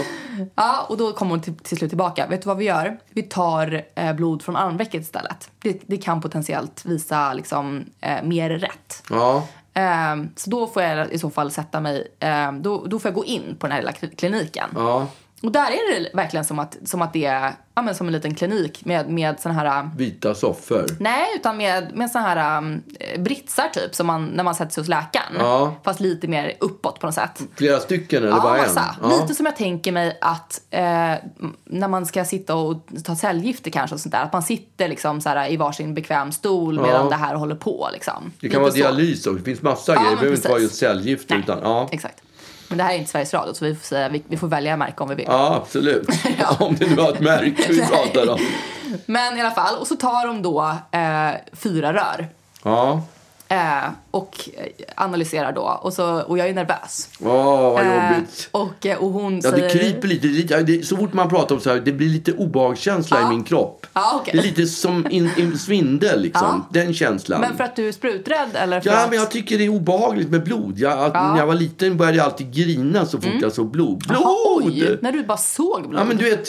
B: Ja, och då kommer hon till, till slut tillbaka. Vet du vad vi gör? Vi tar eh, blod från armvecket istället. Det, det kan potentiellt visa liksom, eh, mer rätt.
A: Ja.
B: Ehm, så då får jag i så fall sätta mig, ehm, då, då får jag gå in på den här lilla kli- kliniken.
A: ja.
B: Och där är det verkligen som att, som att det är ja, men som en liten klinik med, med sån här, äh,
A: Vita soffor.
B: nej utan med, med sån här äh, britsar typ som man, när man sätter sig hos läkaren.
A: Ja.
B: Fast lite mer uppåt på något sätt.
A: Flera stycken eller
B: Ja,
A: bara en?
B: massa. Lite som jag tänker mig att eh, m- när man ska sitta och ta cellgifter kanske och sånt där. Att man sitter liksom så här i varsin bekväm stol medan det här håller på liksom.
A: Det kan
B: Lite
A: vara
B: så.
A: dialys också. Det finns massa grejer. Det
B: men
A: behöver inte vara
B: precis.
A: just cellgifter.
B: Nej,
A: Utan, ja.
B: exakt. Men det här är inte Sveriges Radio så vi får, säga, vi, vi får välja märke om vi vill.
A: ja,
B: *laughs*
A: absolut. *laughs* Om det nu var ett märke vi pratar om.
B: Men i alla fall, och så tar de då eh, fyra rör.
A: Ja.
B: Eh, och eh, analyserar då. Och, så, och jag är nervös.
A: Åh, vad jobbigt.
B: Eh, och, eh, och hon
A: Ja, det
B: säger...
A: kryper lite. Det är lite- ja, det, så fort man pratar om så här, det blir lite obehagskänsla i min kropp.
B: Ja, okej.
A: Det är lite som in, in, svindel, liksom. Den känslan.
B: Men för att du är spruträdd eller för
A: Ja,
B: att...
A: men jag tycker det är obehagligt med blod. Jag, att, När jag var liten började jag alltid grina så fort jag såg blod. Blod!
B: Jaha, Mm. Oj, när du bara såg blod.
A: Ja, men du vet,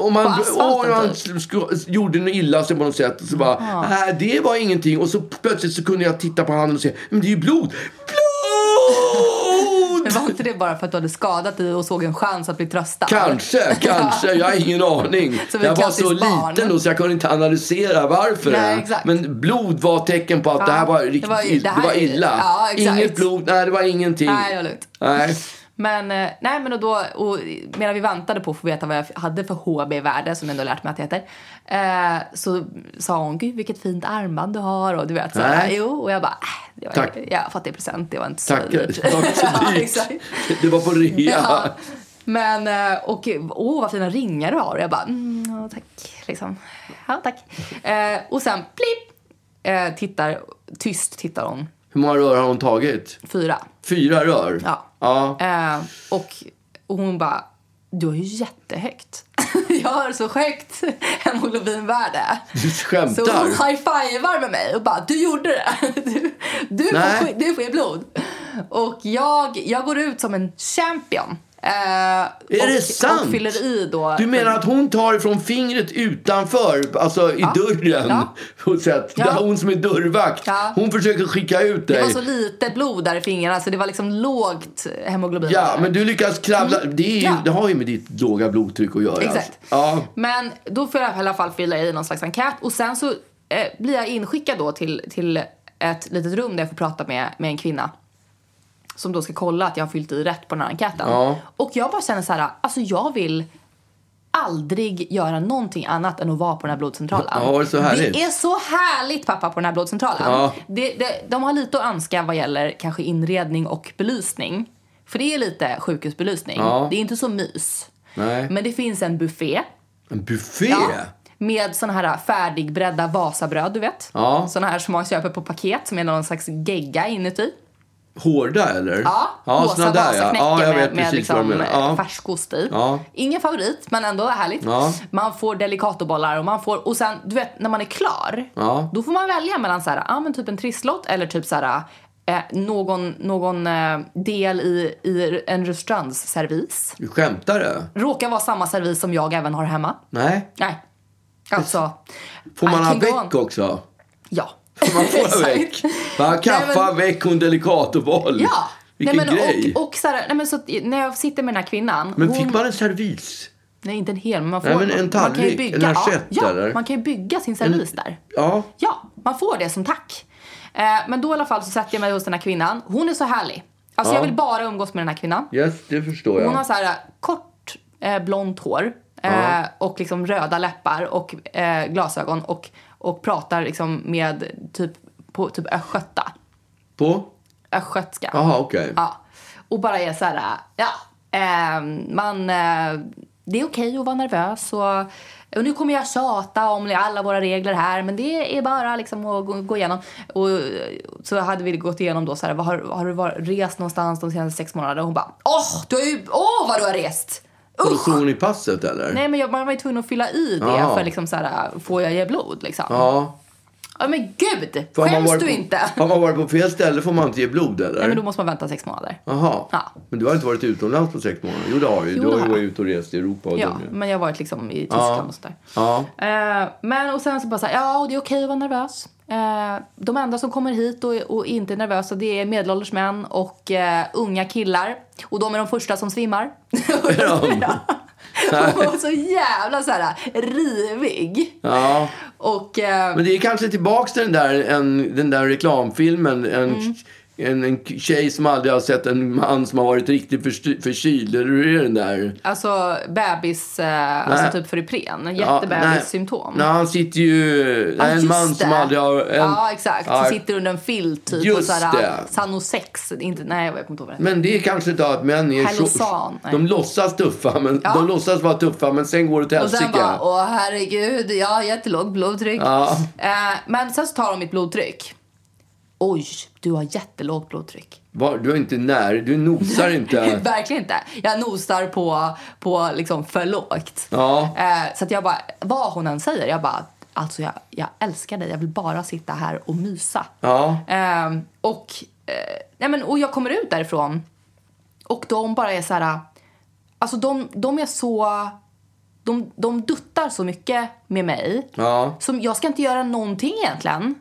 A: om man,
B: På asfalten,
A: om man
B: typ.
A: sku- gjorde något illa sig på något sätt och så bara, nej det var ingenting. Och så plötsligt så kunde jag titta på handen och se, men det är ju blod! Blod!
B: *laughs* Men var inte det bara för att du hade skadat dig och såg en chans att bli tröstad? *laughs*
A: Kanske, kanske. Jag har ingen aning.
B: Som ett
A: jag var så
B: klassiskt barn.
A: liten då så jag kunde inte analysera varför.
B: Nej,
A: än.
B: exakt.
A: Men blod var tecken på att det här var riktigt
B: det var ju-
A: ill-
B: det här
A: det var
B: är-
A: illa.
B: ja, exakt.
A: Inget blod, nej det var ingenting.
B: Nej, det var lugnt.
A: Nej.
B: Men, eh, nej, men och då, och medan vi väntade på att få veta vad jag hade för HB-värde, som jag ändå lärt mig att det heter, eh, så sa hon, gud vilket fint armband du har och du vet så här,
A: Nej.
B: jo, och jag bara, äh, det var,
A: Tack.
B: jag fattar i present, det var inte så
A: Tacker.
B: dyrt.
A: Det var inte
B: *laughs* Ja,
A: så dyrt.
B: exakt.
A: det var på rea.
B: Ja. Men, eh, och åh vad fina ringar du har. Och jag bara, mm, ja, tack. Liksom. Ja, tack. Eh, och sen, plipp, eh, tittar tyst tittar hon.
A: Hur många rör har hon tagit?
B: Fyra.
A: Fyra rör?
B: Ja.
A: ja.
B: Eh, och, och hon bara, du har ju jättehögt. *laughs* jag har så högt hemoglobinvärde.
A: Du
B: Så hon
A: skämtar?
B: high-fivar med mig och bara du gjorde det. *laughs* Du, du,
A: Nej.
B: får, skit- du får ge blod. Och jag, jag går ut som en champion. Eh, är och,
A: det sant?
B: Och fyller i då.
A: Du menar att hon tar ifrån fingret utanför, alltså i dörren?
B: Ja.
A: *laughs* På ett sätt.
B: Ja.
A: Det är hon som är dörrvakt.
B: Ja.
A: Hon försöker skicka ut dig.
B: Det var så lite blod där i fingrarna så det var liksom lågt hemoglobin.
A: Ja, men du lyckas kravla. Det, är ju,
B: Mm. Ja.
A: det har ju med ditt låga blodtryck att göra.
B: Exakt.
A: Ja.
B: Men då får jag i alla fall fylla i någon slags enkät och sen så eh, blir jag inskickad då till, till ett litet rum där jag får prata med, med en kvinna. Som då ska kolla att jag har fyllt i rätt på den här enkäten.
A: Ja.
B: Och jag bara känner så här, alltså jag vill aldrig göra någonting annat än att vara på den här blodcentralen.
A: Ja, det är så härligt.
B: Det är så härligt pappa på den här blodcentralen.
A: Ja.
B: Det, det, de har lite att önska vad gäller kanske inredning och belysning. För det är lite sjukhusbelysning.
A: Ja.
B: Det är inte så mys.
A: Nej.
B: Men det finns en buffé.
A: En buffé?
B: Ja, med såna här färdigbredda Vasabröd, du vet.
A: Ja.
B: Såna här som man köper på paket som är någon slags gegga inuti.
A: Hårda eller?
B: Ja,
A: ja såna där ja.
B: Vasaknäcke
A: Ja, jag vet
B: med, med
A: precis vad du
B: liksom
A: menar. Ja.
B: färskost i.
A: Ja.
B: Ingen favorit, men ändå härligt.
A: Ja.
B: Man får delicatobollar och man får... Och sen, du vet, när man är klar,
A: Ja.
B: då får man välja mellan så här, ah, men typ en trisslott eller typ så här, eh, någon, någon eh, del i, i en restaurangsservis.
A: Du skämtar du?
B: Råkar vara samma servis som jag även har hemma.
A: Nej.
B: Nej. Alltså...
A: Får man
B: I
A: ha
B: can go on.
A: väck
B: *laughs*
A: också?
B: Ja.
A: Får man få
B: Exakt.
A: väck? Va, kaffa,
B: Nej, men-
A: väck och en delicatoboll?
B: Ja.
A: Vilken
B: nej, men,
A: grej.
B: Och, och så här, nej, men så, att när jag sitter med den här kvinnan.
A: men
B: hon,
A: fick man en servis?
B: Nej, inte en hel, men man får
A: Nej, men en
B: man kan ju
A: tallrik,
B: bygga,
A: en
B: ja,
A: assiett,
B: ja,
A: eller?
B: man kan ju bygga sin servis där.
A: Ja.
B: Ja, man får det som tack. Eh, men då i alla fall så sätter jag mig hos den här kvinnan. Hon är så härlig. Alltså
A: Ja.
B: jag vill bara umgås med den här kvinnan.
A: Yes, det förstår jag.
B: Hon har så här kort eh, blont hår eh,
A: Ja.
B: och liksom röda läppar och eh, glasögon och, och pratar liksom med typ på typ östgöta.
A: På?
B: Östgötska.
A: Jaha, okej.
B: Ja. Och bara är så här, ja. Eh, man, eh, det är okej att vara nervös och, och nu kommer jag tjata om alla våra regler här men det är bara liksom att gå, gå igenom. Och eh, så hade vi gått igenom då så här, vad har, har du var, rest någonstans de senaste sex månaderna? Och hon bara, åh, du har ju, åh vad du har rest! Usch!
A: Produktion i passet eller?
B: Nej men jag, man var ju tvungen att fylla i det
A: Ja.
B: för liksom så här, får jag ge blod liksom? Ja,
A: Ja.
B: men gud!
A: För har man
B: Skäms
A: varit
B: du
A: på-
B: inte?
A: Har man varit på fel ställe får man inte ge blod eller?
B: Nej men då måste man vänta sex månader.
A: Jaha.
B: Ja.
A: Men du har inte varit utomlands på sex månader? Jo, det har du ju.
B: Jo,
A: Du
B: det
A: har ju
B: har
A: varit
B: jag.
A: ute och rest i Europa och
B: Ja,
A: dumma.
B: men jag har varit liksom i Tyskland och sådär.
A: Ja.
B: Eh, men och sen så bara såhär, ja och det är okej att vara nervös. Eh, de enda som kommer hit och, och inte är nervösa det är medelålders män och eh, unga killar. Och de är de första
A: *laughs*
B: som svimmar. *laughs* Hon var så jävla såhär rivig.
A: Ja.
B: Och eh,
A: Men det är kanske tillbaks till den där, en, den där reklamfilmen. En, en,
B: Mm.
A: en tjej som aldrig har sett en man som har varit riktigt försty- förkyld. Eller hur är den där?
B: alltså bebis, eh,
A: Nej.
B: alltså typ för Ipren. Jättebebissymptom.
A: Ja, nej. Nej, han sitter ju...
B: Ja,
A: nej, en
B: just
A: man som
B: det.
A: aldrig har... En,
B: Ja, exakt.
A: Ja,
B: Som sitter under en filt typ. och
A: Just
B: såhär,
A: det.
B: Sanosex. Inte, nej, jag kommer inte ihåg vad det
A: Men det är kanske då att män är...
B: Hellosan, nej.
A: de låtsas tuffa, men
B: Ja.
A: de låtsas vara tuffa, men sen går det till
B: Och sen
A: helsike.
B: bara, åh herregud, jag har jättelågt blodtryck.
A: Ja.
B: Eh, men sen så tar de mitt blodtryck. Oj, du har jättelågt blodtryck.
A: Va, Du är inte när, du nosar inte.
B: *laughs* Verkligen inte. Jag nosar på, på liksom för lågt.
A: Ja.
B: Eh, så att jag bara, vad hon än säger, jag bara, alltså jag, jag älskar dig, jag vill bara sitta här och mysa.
A: Ja.
B: Eh, och, eh, nej men, och jag kommer ut därifrån och de bara är så här... Alltså de, de är så... De, de duttar så mycket med mig.
A: Ja.
B: Som, jag ska inte göra någonting egentligen.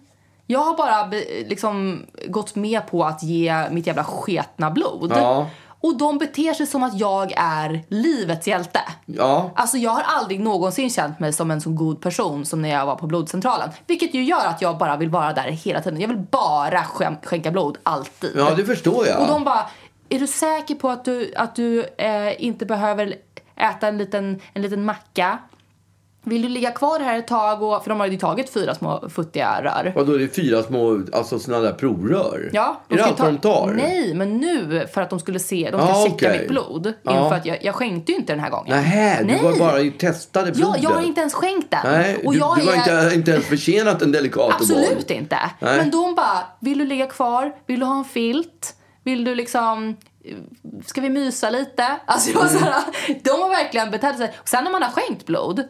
B: Jag har bara be, liksom, gått med på att ge mitt jävla sketna blod.
A: Ja.
B: Och de beter sig som att jag är livets hjälte.
A: Ja.
B: Alltså jag har aldrig någonsin känt mig som en så god person som när jag var på blodcentralen. Vilket ju gör att jag bara vill vara där hela tiden. Jag vill bara skäm- skänka blod, alltid.
A: Ja, det förstår jag.
B: Och de bara, är du säker på att du, att du eh, inte behöver äta en liten, en liten macka? Vill du ligga kvar här ett tag? Och, för de har ju tagit fyra små futtiga rör.
A: Och då är det fyra små, alltså sådana där provrör?
B: Ja,
A: är det
B: ska
A: allt vad de tar?
B: Nej, men nu för att de skulle se, de ska
A: Ja,
B: checka
A: okej.
B: mitt blod.
A: Ja.
B: Inför att jag, jag skänkte ju inte den här gången.
A: Nähä, du
B: Nej.
A: var bara ju testade blodet?
B: Ja, jag har inte ens skänkt den.
A: Nej, du,
B: jag
A: du var inte, inte ens försenat en delicato
B: Absolut inte.
A: Nej.
B: Men de bara, vill du ligga kvar? Vill du ha en filt? Vill du liksom, eh, ska vi mysa lite? Alltså jag var såhär,
A: Mm.
B: de har verkligen betett sig. Och sen när man har skänkt blod,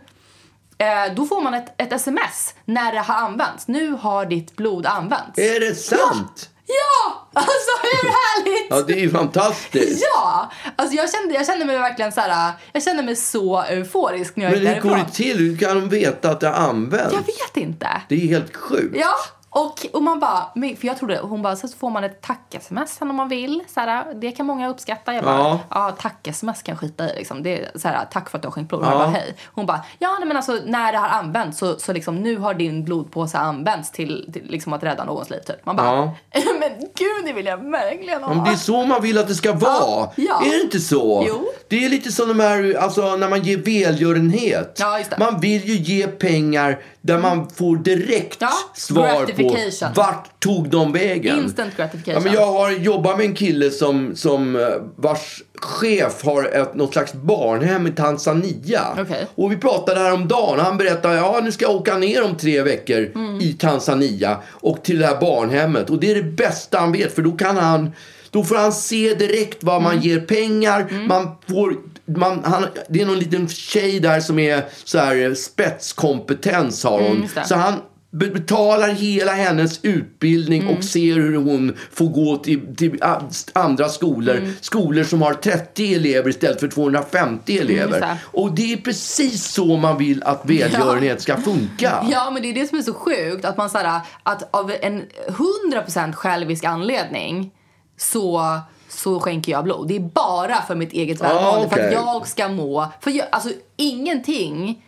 B: eh, då får man ett, ett sms när det har använts. Nu har ditt blod använts.
A: Är det sant?
B: Ja! Alltså hur härligt?
A: Ja, det är ju fantastiskt.
B: Ja! Alltså jag kände, jag kände mig verkligen så här. jag kände mig så euforisk när jag
A: Men
B: gick
A: hur går
B: därifrån.
A: det till? Hur kan de veta att det används?
B: Jag vet inte.
A: Det är helt sjukt.
B: Ja, och, och man bara, men- för jag trodde, hon bara, så får man ett tack-sms sen om man vill. Så här, det kan många uppskatta. Jag bara,
A: Ja.
B: ja, tack-sms kan jag skita i liksom. Det är så här, tack för att du har skänkt blod.
A: Ja.
B: Jag bara, hej. Hon bara, ja nej, men alltså när det har använts så, så liksom nu har din blodpåse använts till, till liksom att rädda någons liv typ. Man bara,
A: Ja.
B: *laughs* men gud det vill jag verkligen ha.
A: Ja, men det är så man vill att det ska vara.
B: ja.
A: Är det inte så?
B: Jo.
A: Det är lite som de här, alltså, när man ger välgörenhet.
B: Ja, just det. Mm.
A: Man vill ju ge pengar där man får direkt
B: Ja,
A: svar på
B: gratification.
A: vart tog de vägen.
B: Instant gratification.
A: Ja, men jag har jobbat med en kille som, som eh, vars chef har ett, något slags barnhem i Tanzania.
B: Okej.
A: Och vi pratade häromdagen och han berättade ja nu ska jag åka ner om tre veckor
B: Mm.
A: i Tanzania och till det här barnhemmet. Och det är det bästa han vet för då kan han då får han se direkt vad
B: Mm.
A: man ger pengar. Man får, man, han, det är någon liten tjej där som är så här, eh, spetskompetens har hon.
B: Mm, just det.
A: så han be- betalar hela hennes utbildning
B: Mm.
A: och ser hur hon får gå till, till a- andra skolor.
B: Mm.
A: Skolor som har 30 elever istället för 250 elever.
B: just det.
A: Och det är precis så man vill att välgörenhet ska funka.
B: Ja, men det är det som är så sjukt. Att man så här, att av en 100% självisk anledning så, så skänker jag blod. Det är bara för mitt eget välmående. För
A: Ah, okej.
B: att jag ska må... För jag, alltså ingenting,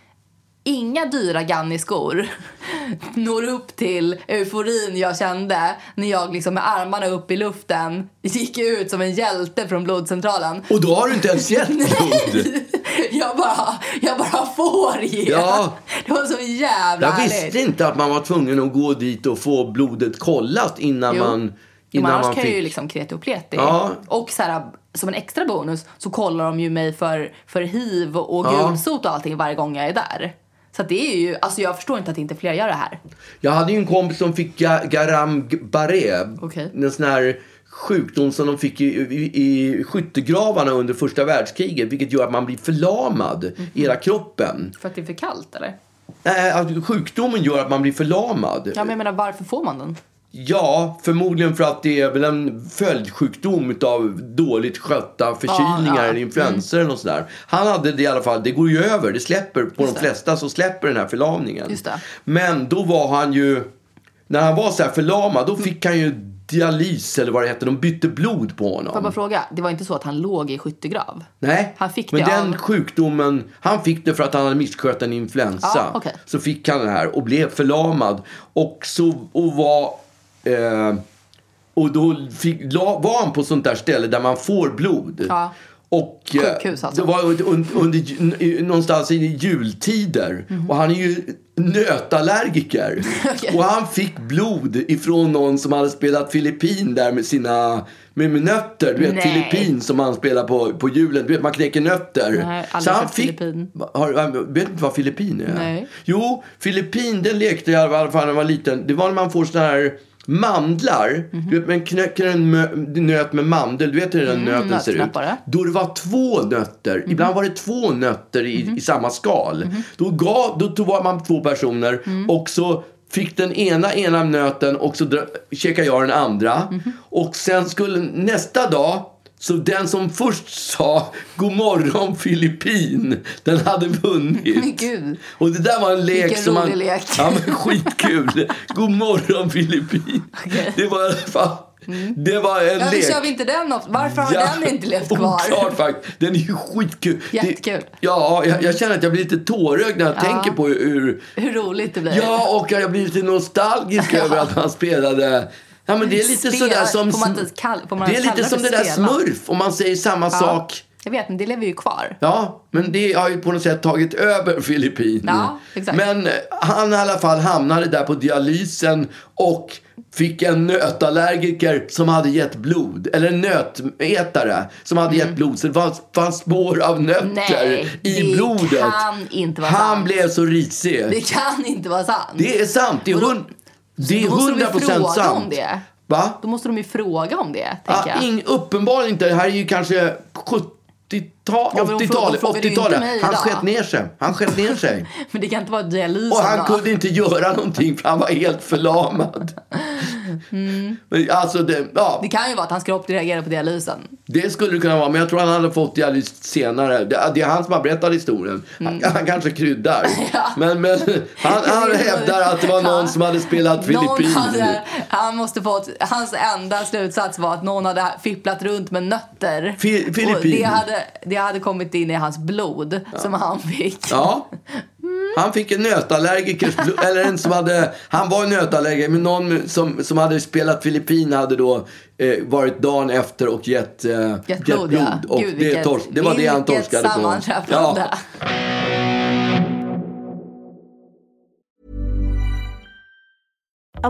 B: inga dyra Ganni-skor *laughs* når upp till euforin jag kände när jag liksom med armarna upp i luften gick ut som en hjälte från blodcentralen. *laughs*
A: Och då har du inte ens gett blod.
B: Jag bara, jag bara får ge.
A: Ja.
B: Det var så jävla
A: Jag
B: härligt.
A: visste inte att man var tvungen att gå dit och få blodet kollat innan
B: Jo.
A: man
B: Jo, men
A: innan
B: annars
A: man
B: kan jag ju
A: fick.
B: liksom kreti och pleti.
A: Ja.
B: Och så här, som en extra bonus så kollar de ju mig för, för hiv och
A: Ja.
B: gulsot och allting varje gång jag är där. Så att det är ju, alltså jag förstår inte att inte fler gör det här.
A: Jag hade ju en kompis som fick ga- garam baré.
B: Okej.
A: En sån här sjukdom som de fick i, i, i skyttegravarna under första världskriget. Vilket gör att man blir förlamad
B: Mhm.
A: i hela kroppen.
B: För att det är för kallt eller?
A: Nej, att sjukdomen gör att man blir förlamad.
B: Ja men jag menar varför får man den?
A: Ja, förmodligen för att det är väl en följdsjukdom utav dåligt skötta förkylningar
B: Ja, Mm. ja.
A: eller influenser eller något sådär. Han hade det i alla fall, det går ju över, det släpper, på de flesta så släpper den här förlamningen.
B: Just det.
A: Men då var han ju, när han var så här förlamad,
B: Mm.
A: då fick han ju dialys eller vad det heter, de bytte blod på honom.
B: Får jag bara fråga, det var inte så att han låg i skyttegrav?
A: Nej,
B: Han fick
A: men
B: det
A: den
B: av-
A: sjukdomen, han fick det för att han hade misskött en influensa.
B: Ja, okej.
A: Så fick han det här och blev förlamad. Och så och var... Eh, och då fick, la, var han på sånt där ställe där man får blod.
B: Ja.
A: Och, eh,
B: Sjukhus alltså.
A: Det var under, under, ju- i- någonstans i jultider.
B: Mhm.
A: Och han är ju
B: *laughs*
A: nötallergiker. Och han fick blod ifrån någon som hade spelat Filippin där med sina med, med nötter. Du vet,
B: Nej.
A: Filippin som han spelar på, på julen. Du vet, man knäcker nötter.
B: Nej, aldrig sett Filippin.
A: Har, har- vet du inte vad Filippin är?
B: Nej.
A: Jo, Filippin, den lekte jag i alla fall när jag var liten. Det var när man får såna här mandlar.
B: Mhm.
A: Du vet, man knäcker en mö- nöt med mandel. Du vet hur den
B: Mm,
A: nöten ser ut.
B: nötknappare.
A: Då det var två nötter.
B: Mhm.
A: Ibland var det två nötter i, i samma skal. Då, gav, då tog man två personer
B: Mhm.
A: och så fick den ena ena nöten och så dra- käkade jag den andra.
B: Mhm.
A: Och sen skulle nästa dag så den som först sa God morgon Filippin, den hade
B: Men
A: vunnit.
B: *laughs* gud.
A: Och det där var en lek
B: Vilken
A: som man...
B: rolig lek.
A: Ja, men
B: *laughs*
A: skitkul. God morgon Filippin.
B: Okej. Mm.
A: Det var i alla fall... Det var en
B: Ja,
A: lek.
B: vi kör vi inte den också? Varför har den inte levt kvar?
A: Oklart faktiskt. Oh, Den är ju skitkul. Det-
B: Jättekul.
A: Ja, jag, jag känner att jag blir lite tårögd när jag tänker på hur... hur-
B: Hur roligt det blir.
A: Ja, och jag blir lite
B: *laughs*
A: nostalgisk över att man spelade... Ja, men det är lite
B: Spel-
A: sådär som...
B: får man inte kall- får man
A: det är
B: kalla
A: lite
B: det
A: som
B: för
A: det där
B: spela?
A: smurf, om man säger samma sak
B: Jag vet, men det lever ju kvar.
A: Ja, men det har ju på något sätt tagit över Filippinerna.
B: Ja, exakt.
A: Men eh, han i alla fall hamnade där på dialysen och fick en nötallergiker som hade gett blod. Eller en nötätare som hade gett blod. Så det fanns, fanns spår av nötter
B: Mm. Nej,
A: i
B: det
A: blodet.
B: kan inte vara
A: han
B: sant.
A: blev så risig.
B: Det kan inte vara sant.
A: Det är sant. Det är, hund, det är
B: då måste de ju
A: 100 procent
B: fråga om
A: sant.
B: det.
A: Va?
B: Då måste de ju fråga om det,
A: Ja,
B: tänker jag.
A: ing, uppenbarligen inte. Det här är ju kanske 70-tal,
B: Ja, men hon
A: 80-talet.
B: frågar- hon frågar ju inte
A: 80-talet.
B: mig
A: Han
B: idag.
A: sket ner sig. Han sket ner sig.
B: *laughs* Men det kan inte vara dialysen
A: Och han
B: då.
A: kunde inte göra någonting för han var helt förlamad.
B: *laughs* Mm.
A: Men alltså, det, ja,
B: Det kan ju vara att hans kropp reagerar på dialysen.
A: det skulle det kunna vara. Men jag tror han hade fått dialys senare. Det, det är han som har berättat historien.
B: Mm.
A: Han, han kanske
B: *laughs*
A: kryddar. Men, men han, han hävdar att det var någon som hade spelat
B: Någon
A: filippin.
B: hade, han måste fått, hans enda slutsats var att någon hade fipplat runt med nötter.
A: Fi- Filippin.
B: Och det, hade, det hade kommit in i hans blod som han fick.
A: Ja. Han fick en nötallergiker,
B: *laughs*
A: eller en som hade, han var en nötallergiker, men någon som, som hade spelat Filippin hade då eh, varit dagen efter och gett, eh,
B: Gett blod, ja.
A: Och
B: Gud,
A: det,
B: vilket-
A: tors, det var det han
B: vilket
A: torskade på.
B: sammantrappande.
E: A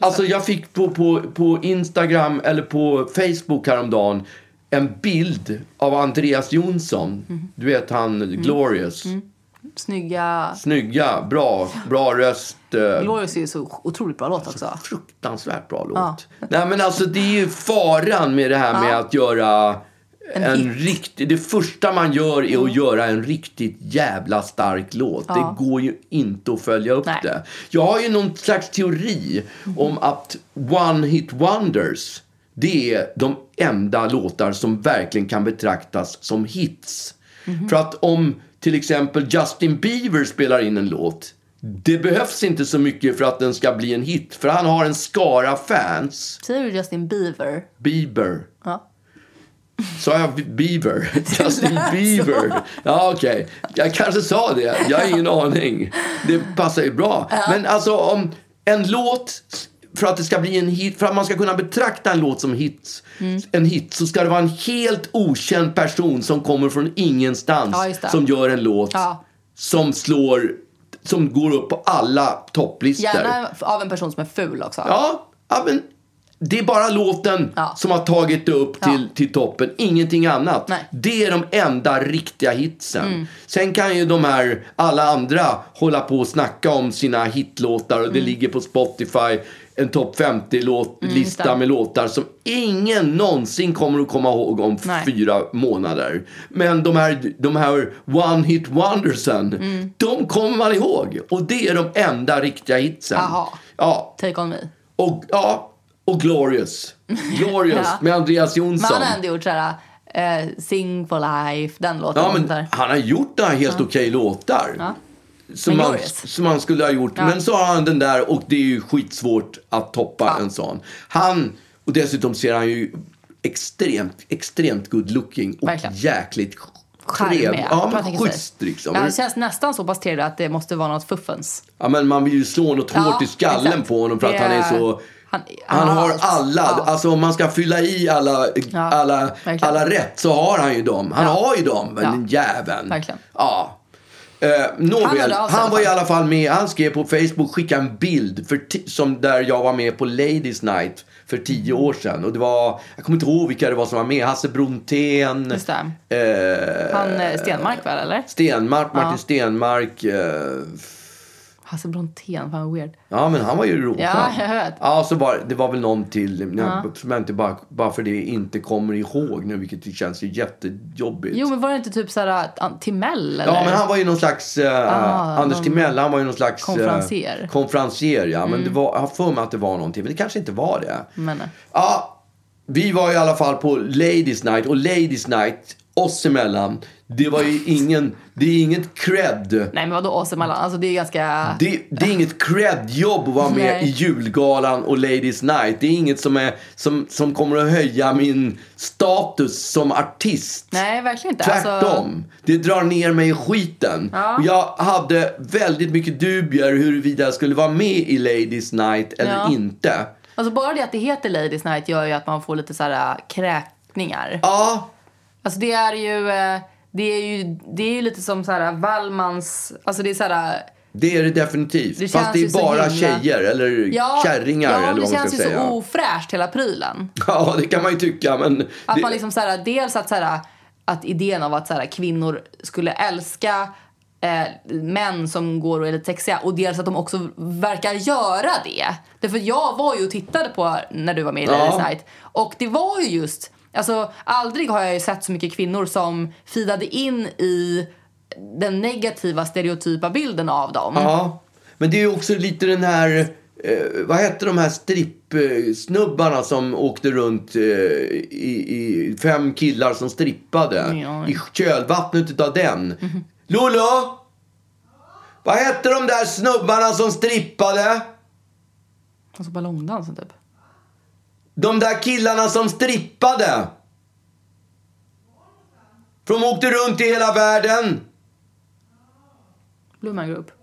A: Alltså jag fick på, på, på Instagram eller på Facebook häromdagen en bild av Andreas Jonsson.
B: Mm.
A: Du vet han Glorious.
B: Snygga...
A: Snygga, bra, bra röst. eh,
B: Glorious är ju så otroligt bra låt också.
A: fruktansvärt bra låt. Nej men alltså det är ju faran med det här med att göra en,
B: En
A: riktig... Det första man gör är att göra en riktigt jävla stark låt. Det går ju inte att följa upp
B: Nej.
A: det. Jag har ju någon slags teori om att One Hit Wonders det är de enda låtar som verkligen kan betraktas som hits. För att om till exempel Justin Bieber spelar in en låt det behövs inte så mycket för att den ska bli en hit. För han har en skara fans.
B: Säger du Justin Bieber?
A: Bieber.
B: Ja.
A: Sa jag
B: *laughs*
A: Bieber? Justin Bieber. Ja, okej. Jag kanske sa det. Jag har ingen aning. Det passar ju bra. Men alltså om en låt för att det ska bli en hit, för att man ska kunna betrakta en låt som hit,
B: Mm.
A: en hit så ska det vara en helt okänd person som kommer från ingenstans
B: Ja, just det.
A: som gör en låt
B: Ja.
A: som slår, som går upp på alla topplistor.
B: Gärna av en person som är ful också.
A: Ja, ja men det är bara låten
B: Ja.
A: som har tagit det upp till, till toppen, ingenting annat.
B: Nej. Mm.
A: Det är de enda riktiga hitsen. Sen kan ju de här, alla andra, hålla på och snacka om sina hitlåtar och
B: Mm.
A: det ligger på Spotify en topp 50-lista med låtar som ingen någonsin kommer att komma ihåg om
B: Nej.
A: fyra månader. Men de här, de här one hit wondersen,
B: Mm.
A: de kommer man ihåg. Och det är de enda riktiga hitsen.
B: Aha.
A: Ja,
B: Take on me.
A: och, ja, och
B: *laughs*
A: Glorious. Glorious
B: Ja.
A: med Andreas
B: Men
A: Jonsson.
B: han har ändå gjort såhär, eh, Sing for life, den låten.
A: Ja, men
B: där.
A: han har gjort några helt okej låtar. Som,
B: Men
A: han,
B: Glorious.
A: som han skulle ha gjort. Men så har han den där och det är ju skitsvårt att toppa en sån. Han, och dessutom ser han ju extremt, extremt good looking och
B: Verkligen.
A: jäkligt
B: Charmig,
A: trevlig. Ja,
B: kan man
A: men
B: tänka sig.
A: schysst liksom.
B: Ja, han känns nästan så pass trevlig att det måste vara något fuffens.
A: Ja, men man vill ju slå något
B: Ja,
A: hårt i skallen
B: exakt.
A: på honom för att
B: Det
A: han är
B: är-
A: så... Han,
B: han- han har
A: har
B: allt.
A: alla,
B: Ja.
A: alltså om man ska fylla i alla, alla,
B: verkligen.
A: alla rätt så har han ju dem. Han
B: Ja.
A: har ju dem,
B: Ja.
A: den jäveln.
B: Verkligen.
A: Ja. Eh,
B: Han
A: Nåväl,
B: hörde
A: han,
B: av sig
A: var i
B: i alla
A: alla fall med. Han skrev på Facebook, skickade en bild för ti- som där jag var med på Ladies Night för tio
B: Mm.
A: år sedan. Och det var, jag kommer inte ihåg vilka det var som var med. Hasse Brontén.
B: Just det.
A: Eh,
B: Han eh, Stenmark väl, eller?
A: Stenmark, Martin Stenmark. Eh,
B: Hasse Brontén, fan vad weird.
A: Ja, men han var ju rolig.
B: Ja, jag vet.
A: Ja, så bara, det var väl någon till som jag inte bara, bara för det inte kommer ihåg nu, vilket det känns ju jättejobbigt.
B: Jo, men var det inte typ så här uh, Timell? Eller?
A: Ja, men han var ju någon slags... eh, Anders
B: Ah, någon-
A: Timell, han var ju någon slags...
B: Konferensier.
A: Eh, konferensier, ja.
B: Mm.
A: Men det var, jag har för mig att det var någonting, men det kanske inte var det.
B: Men, eh,
A: Ja, vi var i alla fall på Ladies Night och Ladies Night oss emellan, det var ju ingen, det är inget cred.
B: nej, men vadå oss emellan? Alltså det är ganska...
A: Det, det är inget cred-jobb att vara med
B: Nej.
A: i julgalan och Ladies Night. Det är inget som, är, som, som kommer att höja min status som artist.
B: Nej, verkligen inte. Alltså,
A: Tvärtom. Det drar ner mig i skiten. Och jag hade väldigt mycket dubier huruvida jag skulle vara med i Ladies Night eller
B: Ja.
A: inte.
B: alltså bara det att det heter Ladies Night gör ju att man får lite så här uh, kräkningar.
A: Ja,
B: Alltså det är ju... eh, Det är ju, det är ju lite som så här Wallmans... Alltså det är så här... eh,
A: det är det definitivt.
B: Det
A: Fast
B: känns
A: det
B: ju
A: är
B: så
A: bara
B: himla-
A: tjejer eller kärringar
B: ja,
A: eller vad
B: det
A: man
B: känns
A: ska
B: ju
A: säga.
B: så ofräscht hela prylen.
A: Ja, det kan man ju tycka. Men
B: Att
A: det...
B: man liksom så här, dels att så här, att idén av att så här, kvinnor skulle älska eh, män som går och är lite sexiga och dels att de också verkar göra det. Därför att jag var ju och tittade på när du var med i Ladies
A: Ja.
B: Night och det var ju just, alltså aldrig har jag ju sett så mycket kvinnor som fidade in i den negativa stereotypa bilden av dem.
A: Ja, men det är ju också lite den här... Eh, vad hette de här strippsnubbarna som åkte runt eh, i, i fem killar som strippade?
B: Ja.
A: I kölvattnet utav den. Lolo! Vad hette de där snubbarna som strippade?
B: Alltså ballongdansen typ.
A: De där killarna som strippade! För de åkte runt i hela världen.
B: Blue Man Group. *laughs*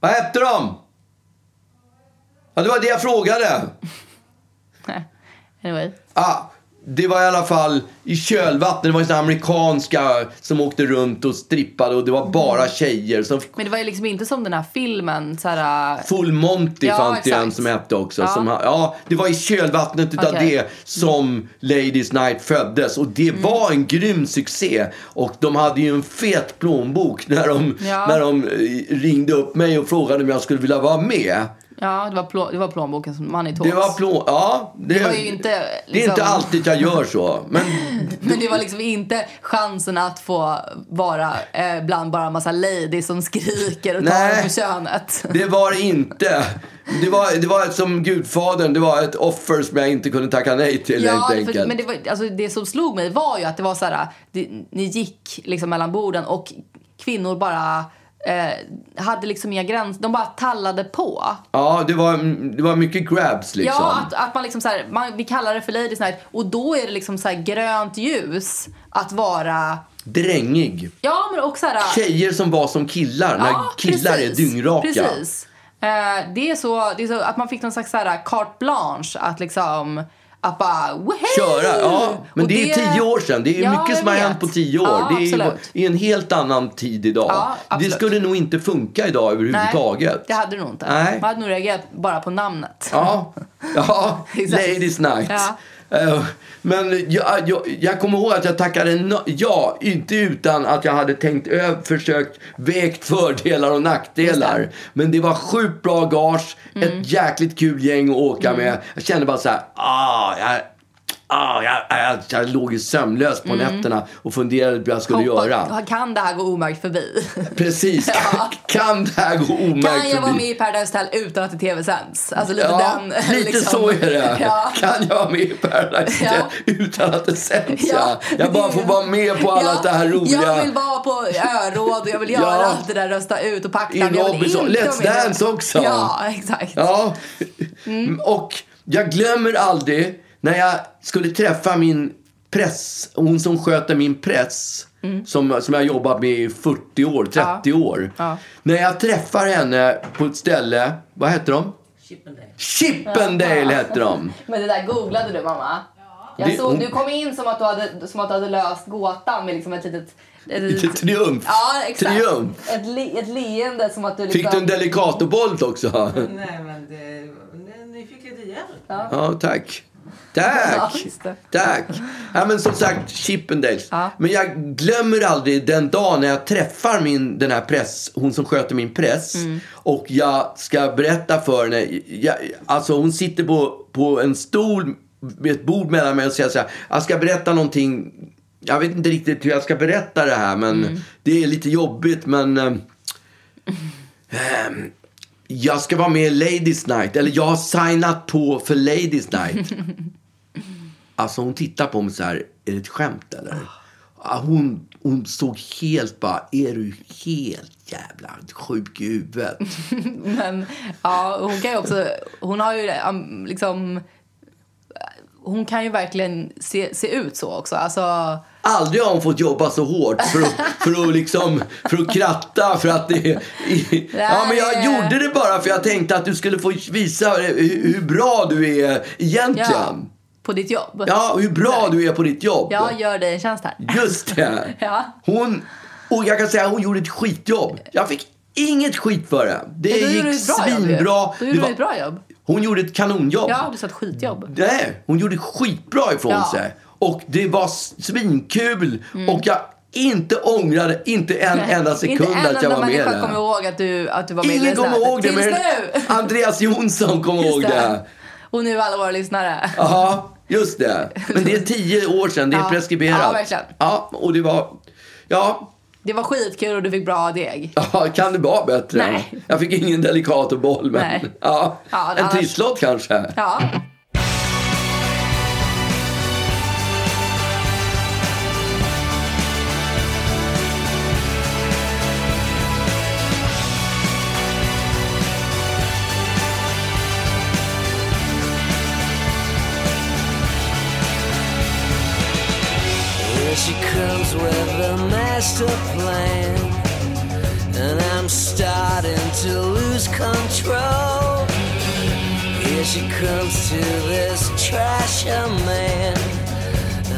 A: Vad hette de? Ja, det var det jag frågade.
B: anyway.
A: Ah, det var i alla fall i kölvattnet. Det var såna amerikanska som åkte runt och strippade och det var bara
B: Mm.
A: tjejer. Som
B: Men det var ju liksom inte som den här filmen så här, eh,
A: Full Monty
B: Ja,
A: fanns det
B: exakt.
A: en som hette också.
B: Ja.
A: Som, ha- ja, det var i kölvattnet utav
B: Okej. Mm.
A: det som Ladies Night föddes. Och det var en grym succé. Och de hade ju en fet plånbok *laughs* när de,
B: Ja.
A: när de eh, ringde upp mig och frågade om jag skulle vilja vara med.
B: Ja, det var, plå, det var plånboken som Money Talks.
A: Det var plå... Ja, det,
B: var ju inte,
A: det är
B: liksom-
A: inte alltid jag gör så. Men
B: *laughs* Men det var liksom inte chansen att få vara eh, bland bara en massa ladies som skriker och tar
A: Nej.
B: en på könet.
A: Det var det inte. Det var, det var som Gudfadern, det var ett offer som jag inte kunde tacka nej till
B: *laughs* Ja,
A: helt
B: för,
A: enkelt.
B: men det, var, alltså, det som slog mig var ju att det var så här, det, ni gick liksom mellan borden och kvinnor bara eh, hade liksom inga gränser, de bara tallade på.
A: Ja, det var, det var mycket grabs liksom.
B: Ja, att, att man liksom så här, man, vi kallar det för ladies night och då är det liksom så här grönt ljus att vara,
A: Drängig.
B: ja men och så här,
A: Tjejer som var som killar, när killar
B: precis.
A: är dyngraka.
B: Precis. Eh, det, är så, det är så att man fick någon slags så här carte blanche att liksom att bara woho!
A: Köra, ja. Men det, är tio år sedan. Det är
B: Ja,
A: mycket
B: jag
A: som har
B: vet.
A: hänt på tio år.
B: Ja,
A: det är, ju,
B: absolut.
A: i en helt annan tid idag.
B: Ja,
A: det
B: absolut.
A: skulle nog inte funka idag överhuvudtaget.
B: Nej, det hade du nog inte.
A: Nej.
B: Man hade nog reagerat bara på namnet. *laughs*
A: Ja, ja
B: Exakt.
A: Ladies Night.
B: Ja.
A: Eh, Men jag, jag, jag kommer ihåg att jag tackade no- ja, inte utan att jag hade tänkt över, försökt vägt fördelar och nackdelar. Men det var sjukt bra gage,
B: Mm.
A: ett jäkligt kul gäng att åka med. Jag kände bara så här, ah, jag, ah, jag, jag, jag låg ju sömnlös
B: Mm.
A: på nätterna och funderade på vad jag skulle
B: Hoppas-
A: göra.
B: Kan det här gå omärkt förbi?
A: Precis,
B: *laughs* Ja.
A: kan det här gå omärkt
B: Kan jag vara
A: förbi?
B: med i Paradise Hotel utan att det tv-sänds? Alltså lite den... liksom.
A: lite så är det.
B: *laughs* Ja.
A: Kan jag vara med i Paradise
B: Ja.
A: utan att det sänds?
B: Ja,
A: Ja. Jag bara
B: det-
A: får vara med på alla det här roliga.
B: Jag vill vara på öråd och jag vill göra
A: Ja.
B: allt det där, rösta ut och packa.
A: I
B: men jag vill
A: Robinson.
B: inte
A: Let's
B: vara med.
A: Dance också.
B: Ja, exakt.
A: Ja. Och jag glömmer aldrig när jag skulle träffa min press, hon som sköter min press. Som, som jag har jobbat med i 40 år, 30 år.
B: Ja.
A: När jag träffar henne på ett ställe, vad heter de? Chippendale. Chippendale heter de.
B: Men det där googlade du mamma. Jag
A: Det-
B: såg,
A: hon-
B: du kom in som att du hade, som att du hade löst gåtan med liksom ett litet... Ett
A: Lite triumf.
B: Ja, exakt.
A: Triumf.
B: Ett, le, ett leende som att du liksom...
A: Fick du en delicatobolt också?
F: Nej, men det, ni- ni fick lite hjälp.
A: Ja, tack.
B: Ja,
A: Tack!
B: just det.
A: Tack! Ja, men som sagt, Chippendales. Men jag glömmer aldrig den dag när jag träffar min, den här press, hon som sköter min press.
B: Mm.
A: Och jag ska berätta för henne. Jag, alltså hon sitter på, på en stol med ett bord mellan mig och säger så här. Jag ska berätta någonting. Jag vet inte riktigt hur jag ska berätta det här. Men
B: Mm.
A: det är lite jobbigt. Men... eh, ehm, jag ska vara med i Ladies Night. Eller jag har signat på för Ladies Night. Alltså hon tittar på mig så här, är det ett skämt eller? Ah, Hon, hon såg helt bara, är du helt jävla sjuk i huvudet?
B: Men ja, hon kan ju också... Hon har ju um, liksom... Hon kan ju verkligen se, se ut så också. Alltså,
A: Aldrig har hon fått jobba så hårt för att, för att, liksom, för att kratta för att det... Ja, men jag gjorde det bara för jag tänkte att du skulle få visa hur, hur bra du är
B: ja,
A: egentligen.
B: på ditt jobb.
A: Ja, hur bra du är på ditt jobb.
B: Jag gör dig en tjänst här.
A: Just det!
B: *laughs* Ja.
A: Hon, och jag kan säga hon gjorde ett skitjobb. Jag fick inget skit för det. Det
B: Men då gjorde
A: gick
B: du ett bra
A: svinbra.
B: jobb ju. Då
A: Det
B: gjorde du
A: var-
B: ett bra jobb.
A: Hon gjorde ett kanonjobb.
B: Ja, du sa ett skitjobb.
A: Nej, hon gjorde skitbra ifrån
B: Ja. Mm.
A: sig. Och det var svinkul. Och jag inte ångrade inte en enda sekund
B: Inte en
A: att jag
B: enda
A: var med i
B: människa
A: det.
B: kommer ihåg att du, att du var med i
A: Ingen
B: Ladies
A: kommer
B: Night.
A: ihåg det,
B: Tills
A: men
B: nu!
A: *laughs* Andreas Jonsson kommer ihåg
B: Just det.
A: det.
B: Och nu alla våra lyssnare.
A: Ja, just det. Men det är tio år sedan, det är
B: Ja.
A: preskriberat.
B: Ja, verkligen.
A: Ja, och det var... Ja,
B: Det var skitkul och du fick bra deg.
A: Ja, kan det vara bättre?
B: Nej.
A: Jag fick ingen delicato boll, men
B: Nej.
A: ja,
B: Ja,
A: en
B: annars-
A: trisslott kanske.
B: Ja.
F: Here she comes with a master plan. And I'm starting to lose control. Here she comes to this trasher man.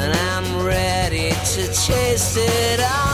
F: And I'm ready to chase it all.